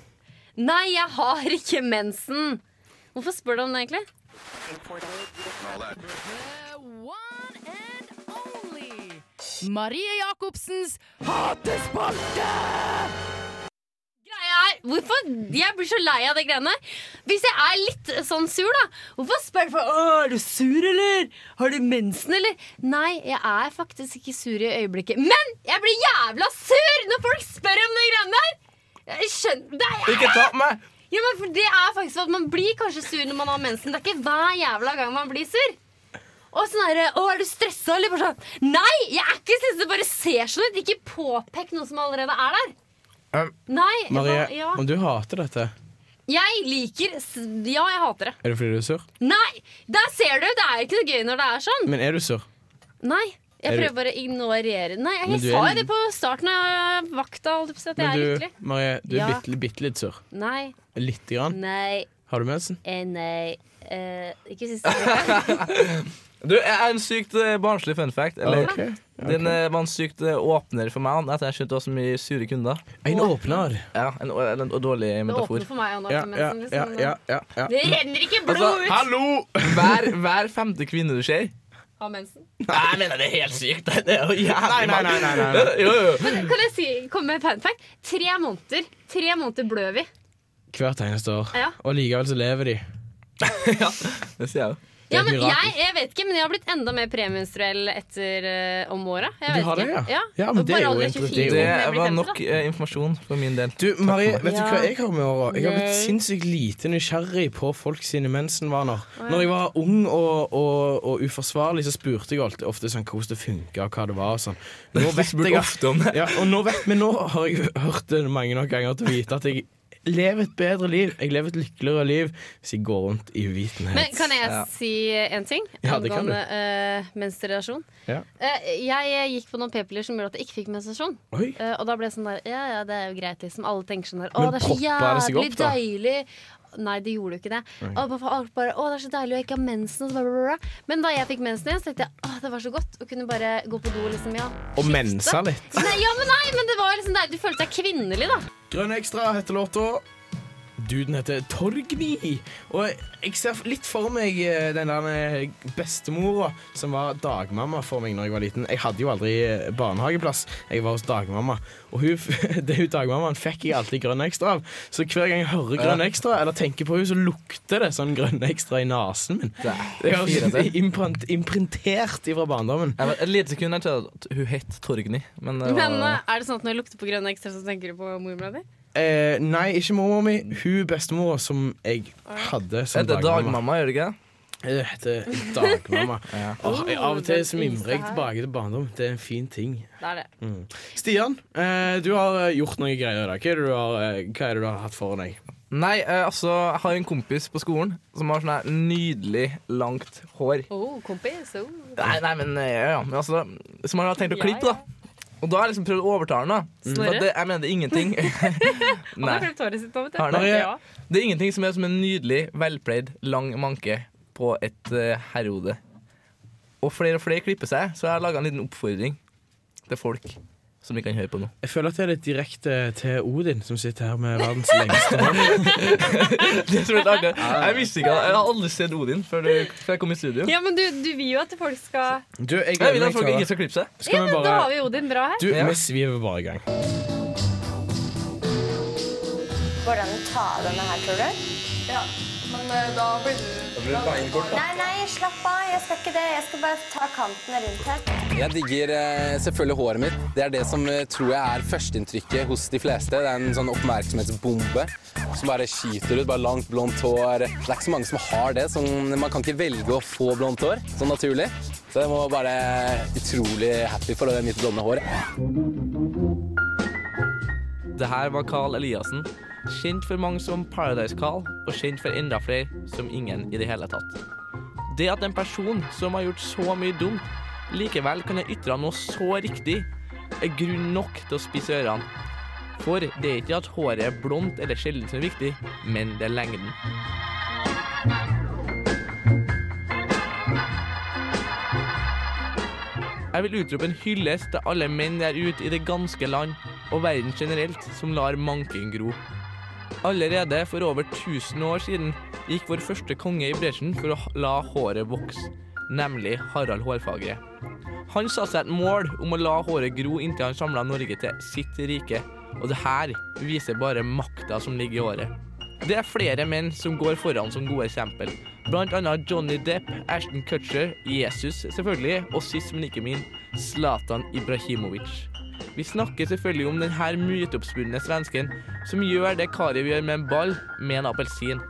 [SPEAKER 2] Nei, jeg har ikke mensen. Hvorfor spør du om det, egentlig?
[SPEAKER 14] Marie Jacobsens hatespalte!
[SPEAKER 2] Greia er, hvorfor, Jeg blir så lei av det greiene. Hvis jeg er litt sånn sur, da, hvorfor spør folk «Åh, er du sur, eller? Har du mensen, eller? Nei, jeg er faktisk ikke sur i øyeblikket. Men jeg blir jævla sur når folk spør om de greiene der! Jeg skjønner, det er,
[SPEAKER 3] Ikke ta på meg!
[SPEAKER 2] ja, men for det er faktisk sånn at Man blir kanskje sur når man har mensen. Det er ikke hver jævla gang man blir sur. Og sånn herre Å, er du stressa, eller? Bare sånn Nei, jeg er ikke stressa, det bare ser sånn ut. Ikke påpek noe som allerede er der.
[SPEAKER 1] Um,
[SPEAKER 2] Nei, hva-
[SPEAKER 1] Marie,
[SPEAKER 2] ja.
[SPEAKER 1] om du hater dette,
[SPEAKER 2] Jeg liker s- Ja, jeg hater det.
[SPEAKER 1] er det fordi du er sur?
[SPEAKER 2] Nei! Der ser du! Det er ikke noe gøy når det er sånn.
[SPEAKER 1] Men er du sur?
[SPEAKER 2] Nei. Jeg
[SPEAKER 1] Er du-
[SPEAKER 2] prøver bare å ignorere Nei, jeg,
[SPEAKER 1] Men du
[SPEAKER 2] sa
[SPEAKER 1] er-
[SPEAKER 2] jo det på starten av vakta. Holdt jeg på å si at jeg
[SPEAKER 1] Men
[SPEAKER 2] er
[SPEAKER 1] du,
[SPEAKER 2] lykkelig.
[SPEAKER 1] Marie, du er
[SPEAKER 2] Ja.
[SPEAKER 1] bitte, bitte litt sur.
[SPEAKER 2] Nei.
[SPEAKER 1] Lite grann.
[SPEAKER 2] Nei.
[SPEAKER 1] Har du sånn? mensen?
[SPEAKER 2] Eh, nei. Eh, ikke siste uke.
[SPEAKER 3] Du, jeg er en sykt eh, barnslig fun fact. Eller,
[SPEAKER 1] Ok,
[SPEAKER 3] Den eh, var en sykt eh, åpner for meg han, etter jeg skjønte det var så mye sure kunder.
[SPEAKER 1] En åpner?
[SPEAKER 3] Ja, en, å- eller en, dårlig metafor.
[SPEAKER 2] åpner for meg, han har ikke mensen, liksom.
[SPEAKER 3] ja.
[SPEAKER 2] Det renner ikke
[SPEAKER 8] Altså,
[SPEAKER 2] blod ut!
[SPEAKER 3] Altså, hallo! Hver, hver femte kvinne du ser
[SPEAKER 2] Har mensen.
[SPEAKER 3] Nei, jeg mener det er helt sykt. Det er jo jævlig
[SPEAKER 1] Nei, nei, nei, nei, nei,
[SPEAKER 3] mange. (laughs) Jo, jo.
[SPEAKER 2] Men kan jeg si, komme med en fun fact? Tre måneder Tre måneder blør vi.
[SPEAKER 1] Hvert eneste år.
[SPEAKER 2] Ja.
[SPEAKER 1] Og likevel så lever de.
[SPEAKER 3] Det sier jeg jo.
[SPEAKER 8] Det
[SPEAKER 2] Ja,
[SPEAKER 8] er et
[SPEAKER 2] men
[SPEAKER 8] mirakel.
[SPEAKER 2] jeg, jeg vet ikke, men jeg har blitt enda mer premenstruell etter eh, om åra. Jeg
[SPEAKER 8] Du
[SPEAKER 2] vet
[SPEAKER 8] har det,
[SPEAKER 2] ikke.
[SPEAKER 8] ja?
[SPEAKER 2] ja.
[SPEAKER 8] Ja, men det er
[SPEAKER 2] Bare
[SPEAKER 8] jo
[SPEAKER 2] aldri
[SPEAKER 8] interessant.
[SPEAKER 2] 24,
[SPEAKER 8] Det
[SPEAKER 2] men jeg blir
[SPEAKER 3] var
[SPEAKER 2] femti, da.
[SPEAKER 3] nok eh, informasjon for min del.
[SPEAKER 8] Du, Marie, vet du
[SPEAKER 2] Ja.
[SPEAKER 8] hva jeg har med åra? Jeg har blitt
[SPEAKER 2] Nei.
[SPEAKER 8] sinnssykt lite nysgjerrig på folk sine mensenvaner. Når jeg var ung og, og, og uforsvarlig, så spurte jeg alltid ofte sånn, hvordan det funka, og hva det var. og Sånn.
[SPEAKER 1] (laughs)
[SPEAKER 8] Nå
[SPEAKER 3] Du
[SPEAKER 8] vet
[SPEAKER 3] spurte
[SPEAKER 8] jeg,
[SPEAKER 3] ofte om det.
[SPEAKER 8] Ja, og nå vet, men nå har jeg hørt det mange nok ganger til å vite at jeg lever et bedre liv. Jeg lever et lykkeligere liv hvis jeg går rundt i uvitenhet.
[SPEAKER 2] Men kan jeg
[SPEAKER 8] Ja.
[SPEAKER 2] si en ting
[SPEAKER 8] Ja, det kan du.
[SPEAKER 2] angående eh, menstruasjon?
[SPEAKER 8] Ja.
[SPEAKER 2] Eh, jeg eh, gikk på noen p-piller som gjorde at jeg ikke fikk menstruasjon.
[SPEAKER 8] Oi.
[SPEAKER 2] Eh, og da ble jeg sånn der Ja, ja, det er jo greit, liksom. Alle tenker sånn der Å,
[SPEAKER 8] Men
[SPEAKER 2] det er så
[SPEAKER 8] poppa det seg
[SPEAKER 2] jævlig
[SPEAKER 8] opp, da?
[SPEAKER 2] deilig. Nei, det gjorde jo ikke det.
[SPEAKER 8] Nei.
[SPEAKER 2] Og bare, alt bare, å, det er så deilig, og jeg ikke har mensen. Og så bare, bla, bla, bla. Men da jeg fikk mensen igjen, så tenkte jeg å, det var så godt å kunne bare gå på do. liksom, ja.
[SPEAKER 8] Og mensa litt.
[SPEAKER 2] Nei, ja, men nei, men det var liksom deilig. Du følte deg kvinnelig, da.
[SPEAKER 8] Grønn ekstra heter låta. Duden heter Torgny. Og jeg ser litt for meg eh, den der bestemora som var dagmamma for meg når jeg var liten. Jeg hadde jo aldri eh, barnehageplass. Jeg var hos dagmamma. Og hun, (laughs) f- det hun dagmammaen fikk jeg alltid Grønn ekstra av. Så hver gang jeg hører Grønn
[SPEAKER 3] Ja.
[SPEAKER 8] ekstra eller tenker på hun så lukter det sånn Grønn ekstra i nesen min.
[SPEAKER 3] Det
[SPEAKER 8] Det er jo imprint, imprintert ifra barndommen.
[SPEAKER 3] Jeg var Et lite sekund jeg trodde at hun het Torgny. Men det
[SPEAKER 2] Men eh,
[SPEAKER 3] var,
[SPEAKER 2] er det sånn at når du lukter på grønn ekstra, så tenker du på mormora di?
[SPEAKER 8] Eh, nei, ikke mormor mi. Hun bestemora som jeg hadde som
[SPEAKER 3] Er det dagmamma,
[SPEAKER 8] gjør det ikke? Det heter dagmamma. Åh, jeg, av og til så mimrer jeg tilbake til barndom. Det er en fin ting.
[SPEAKER 2] Det er det.
[SPEAKER 8] Mm. Stian, eh, du har eh, gjort noen greier i dag. Hva er det du har, eh, hva er det du har hatt foran deg?
[SPEAKER 3] Nei, eh, altså, jeg har en kompis på skolen som har sånn her nydelig, langt hår.
[SPEAKER 2] Oh, kompis. Oh.
[SPEAKER 3] Nei, nei, men, eh, ja, ja, men altså, Som han har tenkt å klippe, da. Og da har jeg liksom prøvd å overtale han. da
[SPEAKER 2] Mm.
[SPEAKER 3] For at det, Jeg mener det er ingenting. (laughs)
[SPEAKER 2] Han har
[SPEAKER 3] Nei.
[SPEAKER 2] klippet håret sitt nå, vet du.
[SPEAKER 3] Har han det?
[SPEAKER 2] Ja.
[SPEAKER 3] Det er ingenting som er som en nydelig, velpleid, lang manke på et eh, herrehode. Og flere og flere klipper seg, så jeg har laga en liten oppfordring til folk som vi kan høre på nå. (laughs)
[SPEAKER 8] Jeg føler at det er litt direkte til Odin, som sitter her med (laughs) verdens lengste hånd.
[SPEAKER 3] Det er så veldig artig. Jeg visste ikke, jeg har aldri sett Odin før, du, før jeg kom i studio.
[SPEAKER 2] Ja, men du, du vil jo at folk skal
[SPEAKER 8] Du, jeg,
[SPEAKER 3] Jeg vil at folk ikke skal klippe seg.
[SPEAKER 8] Skal vi
[SPEAKER 2] men Da har
[SPEAKER 8] bare
[SPEAKER 2] vi Odin bra her.
[SPEAKER 8] Du, vi sviver bare i gang.
[SPEAKER 5] Går det an å ta av denne her, tror du? Ja, men da blir
[SPEAKER 15] blir det beinkort, da.
[SPEAKER 5] Nei, nei, slapp av. Jeg skal ikke det. Jeg skal bare ta kantene rundt her.
[SPEAKER 15] Jeg digger eh, selvfølgelig håret mitt. Det er det som eh, tror jeg er førsteinntrykket hos de fleste. Det er en sånn oppmerksomhetsbombe som bare skyter ut. Bare langt, blondt hår. Det er ikke så mange som har det. Sånn, man kan ikke velge å få blondt hår sånn naturlig. Så jeg må bare utrolig happy for det mitt blonde hår.
[SPEAKER 3] Det her var Carl Eliassen. Kjent for mange som Paradise-Carl, og kjent for enda flere som ingen i det hele tatt. Det at en person som har gjort så mye dumt, likevel kan ha ytra noe så riktig, er grunn nok til å spisse ørene. For det er ikke at håret er blondt eller sjelden som er viktig, men det er lengden. Jeg vil utrope en hyllest til alle menn der ute i det ganske land og verden generelt som lar manken gro. Allerede for over 1000 år siden gikk vår første konge i bresjen for å la håret vokse, nemlig Harald Hårfagre. Han satte seg et mål om å la håret gro inntil han samla Norge til sitt rike, og det her viser bare makta som ligger i håret. Det er flere menn som går foran som gode eksempel. Blant annet Johnny Depp, Ashton Kutcher, Jesus selvfølgelig, og sist, men ikke min, Zlatan Ibrahimovic. Vi snakker selvfølgelig om denne myteoppspunne svensken som gjør det Kariv gjør med en ball med en appelsin.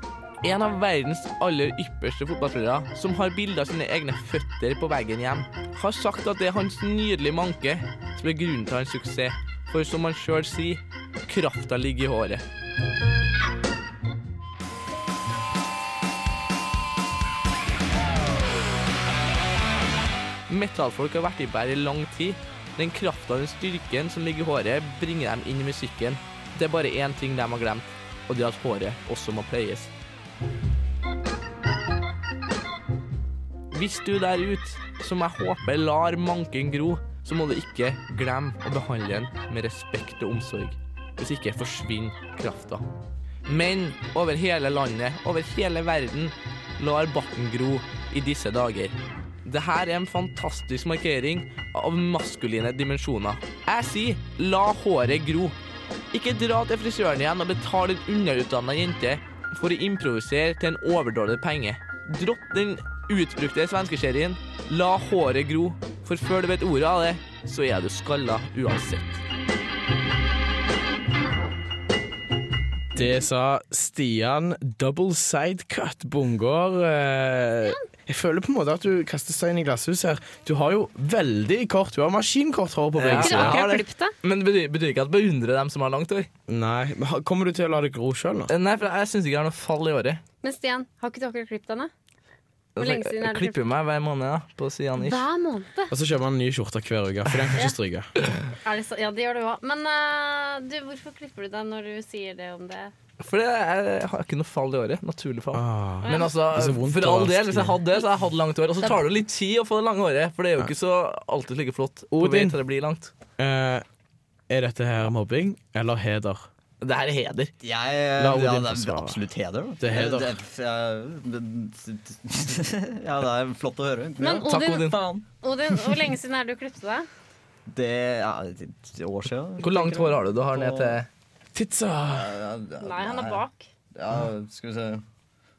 [SPEAKER 3] En av verdens aller ypperste fotballspillere som har bilder av sine egne føtter på veggen hjem, har sagt at det er hans nydelige manke som er grunnen til hans suksess. For som han sjøl sier, krafta ligger i håret. Metallfolk har vært i bær i lang tid. Den krafta og den styrken som ligger i håret, bringer dem inn i musikken. Det er bare én ting de har glemt, og det er at håret også må pleies. Hvis du der ute, som jeg håper lar manken gro, så må du ikke glemme å behandle den med respekt og omsorg. Hvis ikke forsvinner krafta. Menn over hele landet, over hele verden, lar barten gro i disse dager. Dette er en fantastisk markering av maskuline dimensjoner. Jeg sier la håret gro. Ikke dra til frisøren igjen og betal en underutdanna jente for å improvisere til en overdådig penge. Dropp den utbrukte svenskeserien La håret gro, for før du vet ordet av det, så er du skalla uansett.
[SPEAKER 8] Det sa Stian Double Side Cut Bungård. Eh, Jeg føler på en måte at du kaster stein i glasshuset her. Du har jo veldig kort Du har maskinkort hår på begge sider.
[SPEAKER 3] Men det betyr, betyr ikke at jeg beundrer dem som har langt hår.
[SPEAKER 8] Nei, men har- Kommer du til å la det gro sjøl nå?
[SPEAKER 3] Nei, for jeg syns ikke jeg har noe fall i året.
[SPEAKER 2] Men Stian, har ikke dere klippet henne? Hvor lenge siden er
[SPEAKER 3] Jeg
[SPEAKER 2] det
[SPEAKER 3] klipper meg hver måned da, på sidene ish.
[SPEAKER 2] Hver måned?
[SPEAKER 8] Og så kjøper man en ny skjorte hver uke, for den kan ikke stryke.
[SPEAKER 2] Er det så? Ja, det gjør du òg. Men eh, du, hvorfor klipper du deg når du sier det om det?
[SPEAKER 3] For det er, jeg har ikke noe fall i året. Naturlig fall.
[SPEAKER 8] Ah.
[SPEAKER 3] Men altså,
[SPEAKER 8] Det er så vondt
[SPEAKER 3] for
[SPEAKER 8] å
[SPEAKER 3] all
[SPEAKER 8] være
[SPEAKER 3] del, hvis jeg hadde det, så hadde jeg hatt langt hår. Og så
[SPEAKER 8] Det-
[SPEAKER 3] tar det jo litt tid å få det lange håret, for det er jo ikke så alltid like flott. På vei
[SPEAKER 8] Odin.
[SPEAKER 3] til det blir langt.
[SPEAKER 8] Eh, er dette her mobbing eller heder?
[SPEAKER 3] Det her er heder.
[SPEAKER 6] Jeg, eh,
[SPEAKER 8] La
[SPEAKER 6] ja,
[SPEAKER 8] Odin
[SPEAKER 6] det
[SPEAKER 8] få
[SPEAKER 6] er
[SPEAKER 8] svare.
[SPEAKER 6] absolutt heder. da. Eh,
[SPEAKER 8] Det er heder.
[SPEAKER 6] Det, det- (laughs) ja, det er flott å høre.
[SPEAKER 2] Men
[SPEAKER 6] Ja.
[SPEAKER 2] Odin, Odin, hvor lenge siden er det du klippet deg?
[SPEAKER 6] Det er et år siden.
[SPEAKER 3] Hvor langt hår har du? Du har ned til
[SPEAKER 8] Titsa!
[SPEAKER 2] Nei, han er bak.
[SPEAKER 6] Ja, skal vi se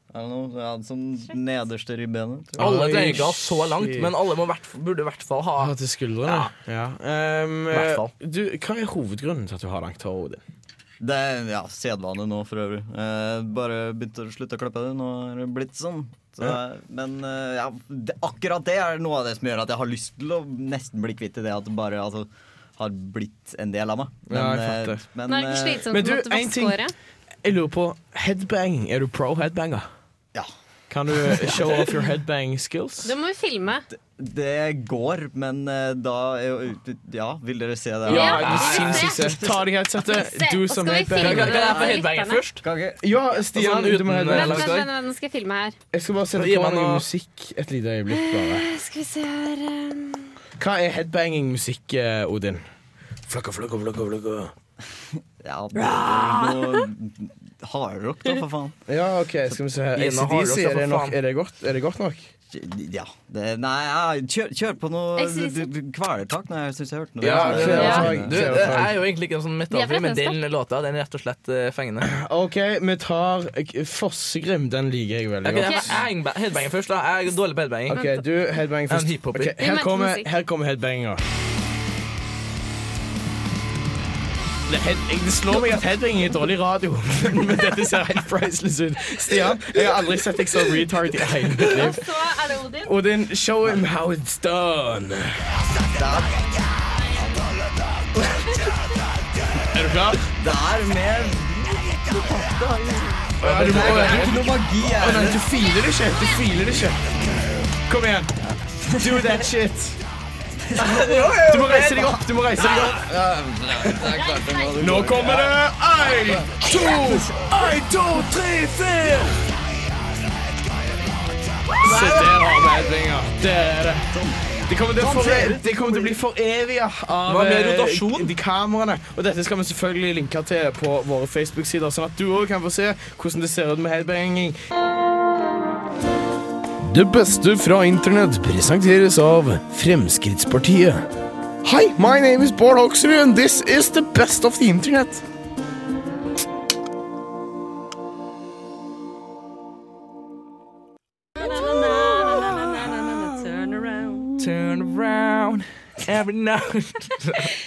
[SPEAKER 6] I don't know. Ja, sånn nederste ribbenet. tror jeg.
[SPEAKER 3] Alle trenger ikke ha så langt, men alle må hvert, burde i hvert fall ha
[SPEAKER 8] Ja, til skuldrene. Ja. Ehm,
[SPEAKER 3] Hvert fall.
[SPEAKER 8] du, hva er hovedgrunnen til at du har langt hår, Odin?
[SPEAKER 6] Det er ja, sedvane nå for øvrig. Eh, bare begynte å slutte å klippe det. Nå er det blitt sånn. Så,
[SPEAKER 8] Ja.
[SPEAKER 6] Men eh, ja, det, akkurat det er noe av det som gjør at jeg har lyst til å nesten bli kvitt i det at det bare altså, har blitt en del av meg.
[SPEAKER 8] Ja, jeg
[SPEAKER 6] eh,
[SPEAKER 8] fatter.
[SPEAKER 6] men,
[SPEAKER 2] Men er det ikke
[SPEAKER 6] eh,
[SPEAKER 2] slitsomt å måtte vaske håret?
[SPEAKER 8] Jeg lurer på headbang. Er du pro headbanger?
[SPEAKER 6] Ja.
[SPEAKER 8] Kan du show off your headbang skills?
[SPEAKER 2] Det må vi filme.
[SPEAKER 6] Det går, men eh, da Ja, vil dere se det?
[SPEAKER 8] Ja, Ja, sinnssykt sett. Ta de headsetet,
[SPEAKER 2] Se, do og some skal vi headbang. filme
[SPEAKER 6] Kan
[SPEAKER 2] det
[SPEAKER 6] jeg få
[SPEAKER 2] for
[SPEAKER 6] headbangen
[SPEAKER 2] lytterne?
[SPEAKER 6] først?
[SPEAKER 8] Ja, Stian,
[SPEAKER 3] Sånn
[SPEAKER 8] du
[SPEAKER 3] uten,
[SPEAKER 8] må headbange.
[SPEAKER 3] eh,
[SPEAKER 2] Vent, vent, vent, vent, nå skal jeg filme her.
[SPEAKER 8] Jeg skal bare sette
[SPEAKER 3] Gi
[SPEAKER 8] på
[SPEAKER 3] meg
[SPEAKER 8] noe
[SPEAKER 3] noe-
[SPEAKER 8] musikk et lite øyeblikk. bare
[SPEAKER 2] Eh, Skal vi se her eh,
[SPEAKER 8] Hva er headbanging musikk, eh, Odin? Flakka, flakka, flakka, flakka.
[SPEAKER 6] Ja, det er noe hardrock, da, for faen.
[SPEAKER 8] Ja, OK, skal vi se her.
[SPEAKER 6] Gi meg hardrock,
[SPEAKER 8] ACDC,
[SPEAKER 6] da,
[SPEAKER 8] er,
[SPEAKER 6] for
[SPEAKER 8] det nok-
[SPEAKER 6] faen.
[SPEAKER 8] er, det godt- er det godt nok?
[SPEAKER 6] Ja. Det, nei, ja, kjør, kjør på noe
[SPEAKER 3] Jeg synes-
[SPEAKER 6] du- du- kvelertak. Nei, jeg syns jeg hørte noe.
[SPEAKER 8] Ja,
[SPEAKER 6] Det er-
[SPEAKER 8] kvelertak,
[SPEAKER 6] det er-
[SPEAKER 3] Du,
[SPEAKER 8] kvelertak.
[SPEAKER 3] jeg er jo egentlig ikke en sånn
[SPEAKER 8] Vi
[SPEAKER 3] metallfri,
[SPEAKER 8] er
[SPEAKER 3] men den
[SPEAKER 8] pretenser.
[SPEAKER 3] låta den er rett og slett eh, fengende.
[SPEAKER 8] OK, vi tar eh, Fossegrim. Den liker jeg veldig
[SPEAKER 3] Ok, jeg-
[SPEAKER 8] godt.
[SPEAKER 3] jeg headba- headbanger først, da. Jeg er dårlig på headbanging.
[SPEAKER 8] Ok, du headbang først.
[SPEAKER 3] En hiphoper.
[SPEAKER 8] Ok, her, kommer, her kommer headbanger. Det, head, jeg- det slår meg at headbanging er dårlig radio, (laughs) men dette ser helt priceless ut. Stian, jeg har aldri sett deg så retard i hele mitt liv.
[SPEAKER 2] Så er det Odin.
[SPEAKER 8] Odin, show him how it's done. Er du klar?
[SPEAKER 6] Det er mer
[SPEAKER 8] Ja, du
[SPEAKER 6] Det
[SPEAKER 8] må,
[SPEAKER 6] er ikke noe magi her.
[SPEAKER 8] Å, nei, du filer det ikke. Du filer det
[SPEAKER 13] (laughs)
[SPEAKER 8] ikke. Kom igjen. Do that shit. Du må reise deg opp. Du må reise deg opp. Nå kommer det én, to, én, to, tre, fire. Se, der har vi headbanger. Det er det. De kommer til å, for, de kommer til å bli foreviga av
[SPEAKER 3] Hva med
[SPEAKER 8] eh,
[SPEAKER 3] rotasjon?
[SPEAKER 8] de kameraene. Og dette skal vi selvfølgelig linke til på våre Facebook-sider, sånn at du òg kan få se hvordan det ser ut med headbanging.
[SPEAKER 16] Det beste fra internett presenteres av Fremskrittspartiet. Hi, my name is Bård Hoksrud, and this is the best of the internet.
[SPEAKER 2] Turn around.
[SPEAKER 3] Turn around every night.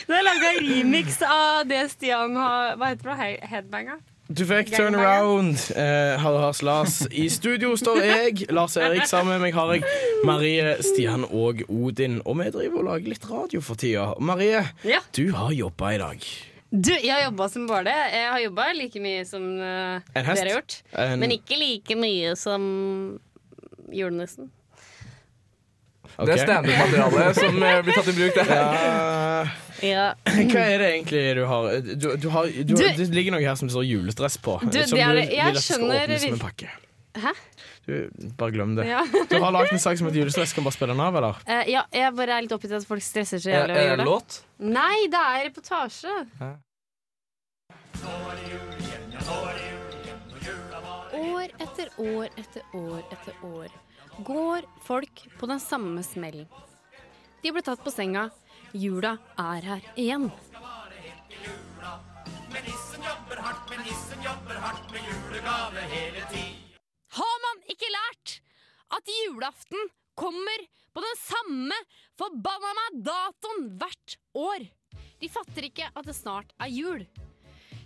[SPEAKER 2] Nå har jeg laga remix av det Stian har Hva heter det? He- Headbanger?
[SPEAKER 8] Du fikk turnaround, eh, Harald Hars Lars. I studio står jeg, Lars Erik, sammen med meg har jeg Marie, Stian og Odin. Og vi driver og lager litt radio for tida. Marie,
[SPEAKER 2] Ja.
[SPEAKER 8] du har jobba i dag.
[SPEAKER 2] Du, jeg har jobba som bare det. Jeg har jobba like mye som eh,
[SPEAKER 8] En
[SPEAKER 2] dere
[SPEAKER 8] hest?
[SPEAKER 2] har gjort.
[SPEAKER 8] En-
[SPEAKER 2] Men ikke like mye som julenissen.
[SPEAKER 3] Det er standup-materiale som eh, blir tatt i bruk der.
[SPEAKER 2] Ja.
[SPEAKER 8] Ah, Hva er det egentlig du har Du, du har, du,
[SPEAKER 2] Du-
[SPEAKER 8] Det ligger noe her som det står julestress på.
[SPEAKER 2] Du, det
[SPEAKER 8] som
[SPEAKER 2] er det.
[SPEAKER 8] vil
[SPEAKER 2] Jeg
[SPEAKER 8] at det skal
[SPEAKER 2] skjønner
[SPEAKER 8] åpnes som en
[SPEAKER 2] vir-
[SPEAKER 8] pakke.
[SPEAKER 2] Hæ?
[SPEAKER 8] Du, bare glem det.
[SPEAKER 2] Ja. (laughs)
[SPEAKER 8] Du har lagd en sak som heter julestress. Kan bare spille den av, eller?
[SPEAKER 2] Eh, ja, jeg bare er litt oppgitt at folk stresser
[SPEAKER 3] Eh,
[SPEAKER 2] så
[SPEAKER 8] Er-
[SPEAKER 2] jævlig.
[SPEAKER 8] er
[SPEAKER 2] av å
[SPEAKER 8] det
[SPEAKER 2] gjøre
[SPEAKER 8] låt?
[SPEAKER 2] Nei, det er reportasje. År etter år etter år etter år går folk på den samme smellen. De ble tatt på senga. Jula er her igjen. Har man ikke lært at julaften kommer på den samme forbanna meg datoen hvert år. De fatter ikke at det snart er jul.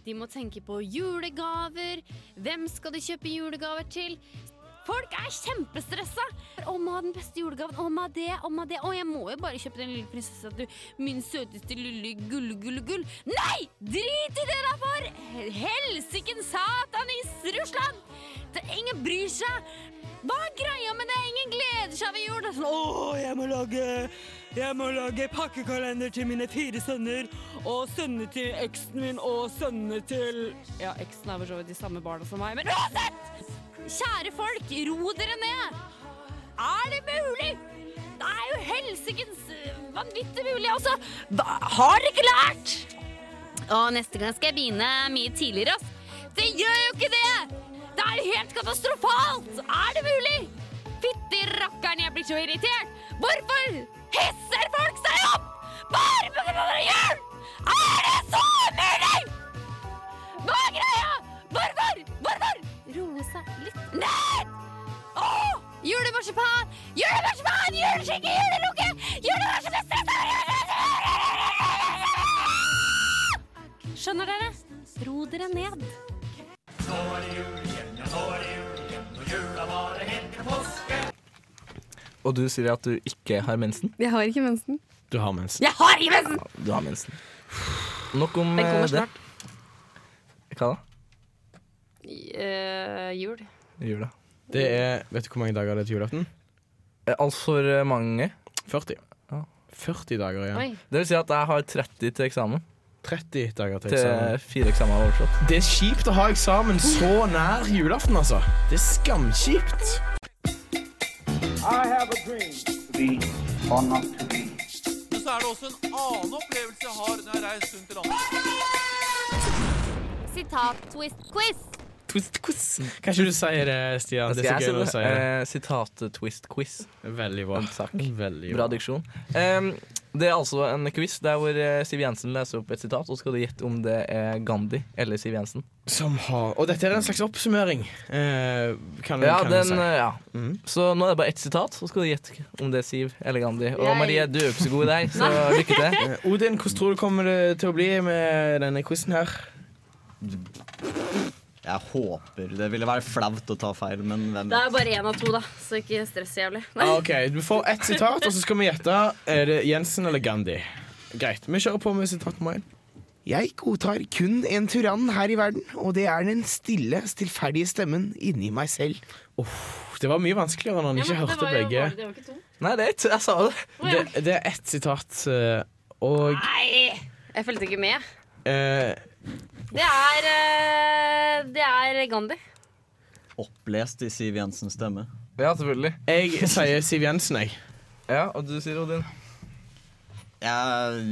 [SPEAKER 2] De må tenke på julegaver. Hvem skal de kjøpe julegaver til? Folk er kjempestressa! Å, må ha den beste julegaven. Å, må ha det. Å, må ha det. Å, jeg må jo bare kjøpe den lille prinsessa du Min søteste lille gull-gull-gull. Nei! Drit i det der for! Helsiken satan i Russland! Det, ingen bryr seg. Hva er greia med det? Ingen gleder seg ved jul. Det er sånn, Å, jeg må lage jeg må lage pakkekalender til mine fire sønner og sønnene til eksen min og sønnene til Ja, eksen er for så vidt de samme barna som meg, men uansett! Kjære folk, ro dere ned! Er det mulig? Det er jo helsikens øh, vanvittig mulig, altså! Hva, har dere ikke lært? Og neste gang skal jeg begynne mye tidligere, ass. Det gjør jo ikke det! Det er jo helt katastrofalt! Er det mulig? Fytti rakkeren, jeg blir så irritert! Hvorfor hisser folk seg opp? Bare på grunn av jul! Er det så umulig? Hva er greia? Hvorfor? Hvorfor? Roe seg litt ned! Åh! Julemarsipan! Julemarsipan! Juleskikke! Julelukke! Julemarsipan! Skjønner dere? Ro dere ned.
[SPEAKER 17] Så er det jul igjen, ja, så er det jul igjen, og jula varer helt til påske.
[SPEAKER 3] Og du sier at du ikke har mensen?
[SPEAKER 18] Jeg har ikke mensen.
[SPEAKER 3] Du har mensen.
[SPEAKER 18] Jeg har ikke mensen!
[SPEAKER 3] Du har mensen. Nok om
[SPEAKER 18] Den kommer
[SPEAKER 3] eh, det. Hva da?
[SPEAKER 2] eh,
[SPEAKER 18] jul.
[SPEAKER 3] Jula.
[SPEAKER 8] Det er, Vet du hvor mange dager det er til julaften?
[SPEAKER 3] Eh, Altfor mange.
[SPEAKER 8] 40. 40 dager igjen.
[SPEAKER 3] Oi. Det vil si at jeg har 30 til eksamen.
[SPEAKER 8] 30 dager til eksamen.
[SPEAKER 3] Til fire eksamener overstått.
[SPEAKER 8] Det er kjipt å ha eksamen så nær julaften, altså. Det er skamkjipt.
[SPEAKER 17] I have a dream.
[SPEAKER 19] Men så er det også en annen opplevelse jeg har når jeg reiser rundt i landet.
[SPEAKER 2] Sitat, twist, quiz.
[SPEAKER 8] Twist-quiz. Kan ikke du si det, Stian? Det
[SPEAKER 3] Skal jeg
[SPEAKER 8] er så gøy når du
[SPEAKER 3] si
[SPEAKER 8] sier det.
[SPEAKER 3] eh, Sitat-twist-quiz.
[SPEAKER 8] Veldig bra. Veldig
[SPEAKER 3] Bra diksjon. Em, det er altså en quiz der hvor eh, Siv Jensen leser opp et sitat, og så skal du gjette om det er Gandhi eller Siv Jensen.
[SPEAKER 8] Som har Og dette er en slags oppsummering, eh, kan,
[SPEAKER 3] Ja,
[SPEAKER 8] kan
[SPEAKER 3] den,
[SPEAKER 8] vi si. Mm.
[SPEAKER 3] eh, ja. Så nå er det bare ett sitat, så skal du gjette om det er Siv eller Gandhi. Og
[SPEAKER 8] Jeg-
[SPEAKER 3] Marie, du er jo ikke så god i deg, så lykke til.
[SPEAKER 8] Eh, Odin, hvordan tror du kommer det til å bli med denne quizen her?
[SPEAKER 6] Jeg håper Det ville være flaut å ta feil, men hvem
[SPEAKER 2] Det er bare én av to, da, så ikke stress jævlig.
[SPEAKER 8] Ah, ok, Du får ett sitat, og så skal vi gjette. Er det Jensen eller Gandhi? Greit. Vi kjører på med sitat nummer én.
[SPEAKER 1] Jeg godtar kun en tyrann her i verden, og det er den stille, stillferdige stemmen inni meg selv.
[SPEAKER 8] Det var mye vanskeligere når han ikke hørte begge.
[SPEAKER 3] Nei, det er ett. Jeg sa det.
[SPEAKER 8] Det, det er ett sitat, eh, og
[SPEAKER 2] Nei! Jeg fulgte ikke med.
[SPEAKER 8] eh,
[SPEAKER 2] Det er eh, Det er Gandhi.
[SPEAKER 6] opplest i Siv Jensens stemme?
[SPEAKER 3] Ja, selvfølgelig.
[SPEAKER 8] eh, Jeg sier Siv Jensen, jeg.
[SPEAKER 3] Ja, og du sier Odin?
[SPEAKER 6] Jeg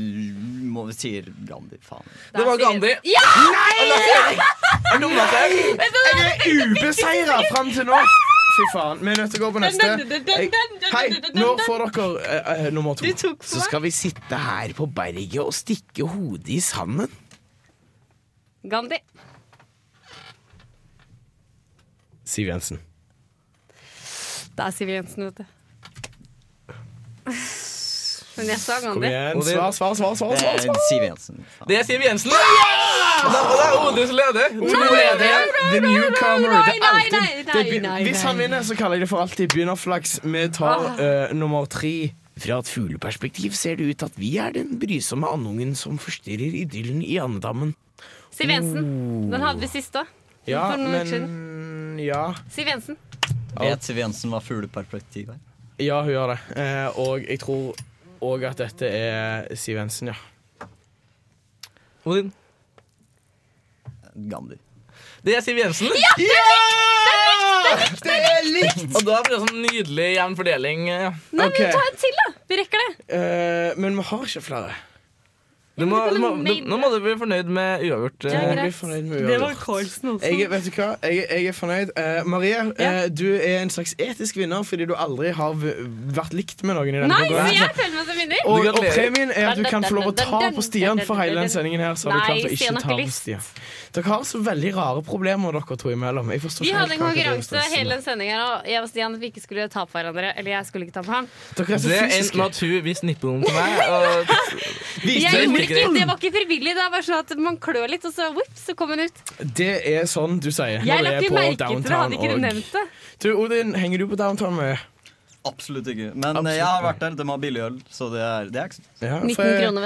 [SPEAKER 6] må sier Gandhi, faen.
[SPEAKER 3] Det var Gandhi.
[SPEAKER 2] Ja!
[SPEAKER 3] Jeg dumma seg.
[SPEAKER 8] Jeg er ubeseira fram til nå. Fy faen. Vi er nødt til å gå på neste. Jeg, hei, nå får dere eh, eh, nummer to.
[SPEAKER 1] Så skal vi sitte her på berget og stikke hodet i sanden.
[SPEAKER 2] Gandhi.
[SPEAKER 8] Siv Jensen.
[SPEAKER 2] Det er Siv Jensen, vet du. Men jeg sa
[SPEAKER 8] Kom
[SPEAKER 2] Gandhi.
[SPEAKER 8] igjen. Svar, svar, svar. svar, svar,
[SPEAKER 6] Det er
[SPEAKER 8] svar.
[SPEAKER 6] Eh, Siv Jensen.
[SPEAKER 3] Det er Siv Jensen. Og da- og det er Odin som leder.
[SPEAKER 8] Odin leder. The newcomer. Det
[SPEAKER 2] nei,
[SPEAKER 8] er
[SPEAKER 2] nei,
[SPEAKER 8] alltid
[SPEAKER 2] nei,
[SPEAKER 8] det er,
[SPEAKER 2] nei,
[SPEAKER 8] begyn-
[SPEAKER 2] nei,
[SPEAKER 8] Hvis han
[SPEAKER 2] nei.
[SPEAKER 8] vinner, så kaller jeg det for alltid begynnerflaks. Vi tar
[SPEAKER 3] Ah.
[SPEAKER 8] eh, nummer tre.
[SPEAKER 1] Fra et fugleperspektiv ser det ut til at vi er den brysomme andungen som forstyrrer idyllen i andedammen.
[SPEAKER 2] Siv Jensen.
[SPEAKER 8] Oh.
[SPEAKER 2] Den hadde vi sist òg.
[SPEAKER 1] Ja,
[SPEAKER 2] For noen
[SPEAKER 1] men-
[SPEAKER 2] uker siden.
[SPEAKER 8] Mm, Ja.
[SPEAKER 2] Siv Jensen.
[SPEAKER 6] Vet Siv Jensen hva fugleperspektiv er?
[SPEAKER 8] Ja, hun gjør det. Eh, og jeg tror òg at dette er Siv Jensen, ja.
[SPEAKER 3] Odin.
[SPEAKER 6] Gandhi.
[SPEAKER 3] Det er Siv Jensen.
[SPEAKER 2] Ja, det er
[SPEAKER 3] likt! Det er likt! Og da blir det sånn nydelig jevn fordeling. eh, ja.
[SPEAKER 2] Nei, men ta en til, da. Vi rekker det.
[SPEAKER 8] Eh, men vi har ikke flere.
[SPEAKER 3] Du må, du må, du, nå må du bli fornøyd med uavgjort. eh.
[SPEAKER 8] Jeg blir fornøyd med
[SPEAKER 3] Det var
[SPEAKER 8] uavgjort.
[SPEAKER 3] Carlsen også.
[SPEAKER 8] Jeg, vet du hva? Jeg, jeg er fornøyd. Eh, Marie, eh, du er en slags etisk vinner fordi du aldri har v vært likt med noen i denne
[SPEAKER 2] Nei, så
[SPEAKER 8] konkurransen.
[SPEAKER 2] jeg føler meg som vinner.
[SPEAKER 8] Og, og premien er at du kan få lov å ta på Stian for hele den sendingen her. Så har du
[SPEAKER 2] Nei,
[SPEAKER 8] klart å ikke
[SPEAKER 2] Stian har
[SPEAKER 8] ta
[SPEAKER 2] ikke
[SPEAKER 8] på
[SPEAKER 2] lyst.
[SPEAKER 8] Stian. Dere har så veldig rare problemer, dere to imellom. Jeg forstår
[SPEAKER 2] Vi
[SPEAKER 8] ikke
[SPEAKER 2] hadde en
[SPEAKER 8] helt hva dere driver og
[SPEAKER 2] konkurranse
[SPEAKER 8] stresser med.
[SPEAKER 2] hele den sendingen her, og jeg og Stian vi ikke skulle ta på hverandre. Eller jeg skulle ikke ta på han.
[SPEAKER 3] Det endte med at hun viste nippelen til meg. Og
[SPEAKER 2] Jeg gjorde ikke, det var ikke frivillig. Det er bare sånn at man klør litt, og så whip, så kom hun ut.
[SPEAKER 8] Det er sånn du sier.
[SPEAKER 2] Jeg
[SPEAKER 8] når
[SPEAKER 2] la
[SPEAKER 8] du er
[SPEAKER 2] ikke
[SPEAKER 8] på
[SPEAKER 2] merke til det, hadde
[SPEAKER 8] Downtown
[SPEAKER 2] ikke du
[SPEAKER 8] og-
[SPEAKER 2] nevnt det.
[SPEAKER 8] Du, Odin, henger du på downtown mye?
[SPEAKER 6] Absolutt ikke. Men eh, jeg har vært der, de har billig øl, så det er, det er ikke så
[SPEAKER 8] Ja,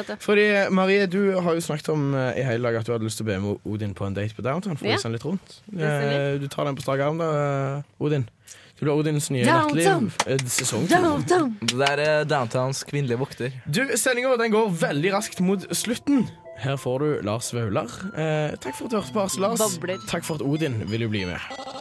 [SPEAKER 8] for- Fordi, Marie, du har jo snakket om eh, i hele dag at du hadde lyst til å be med Odin på en date på downtown. For
[SPEAKER 2] Ja.
[SPEAKER 8] å vise han litt rundt
[SPEAKER 2] Det stemmer.
[SPEAKER 8] Eh, Du tar den på strak arm, da, eh, Odin. Du blir Odins nye
[SPEAKER 3] Downtown.
[SPEAKER 8] nattliv. eh, Sesong to.
[SPEAKER 2] Downtown.
[SPEAKER 3] Det der er eh, downtowns kvinnelige vokter.
[SPEAKER 8] Du, sendinga den går veldig raskt mot slutten. Her får du Lars Vaular. Eh, takk for at du hørte på oss, Lars.
[SPEAKER 2] Babler.
[SPEAKER 8] Takk for at Odin ville bli med.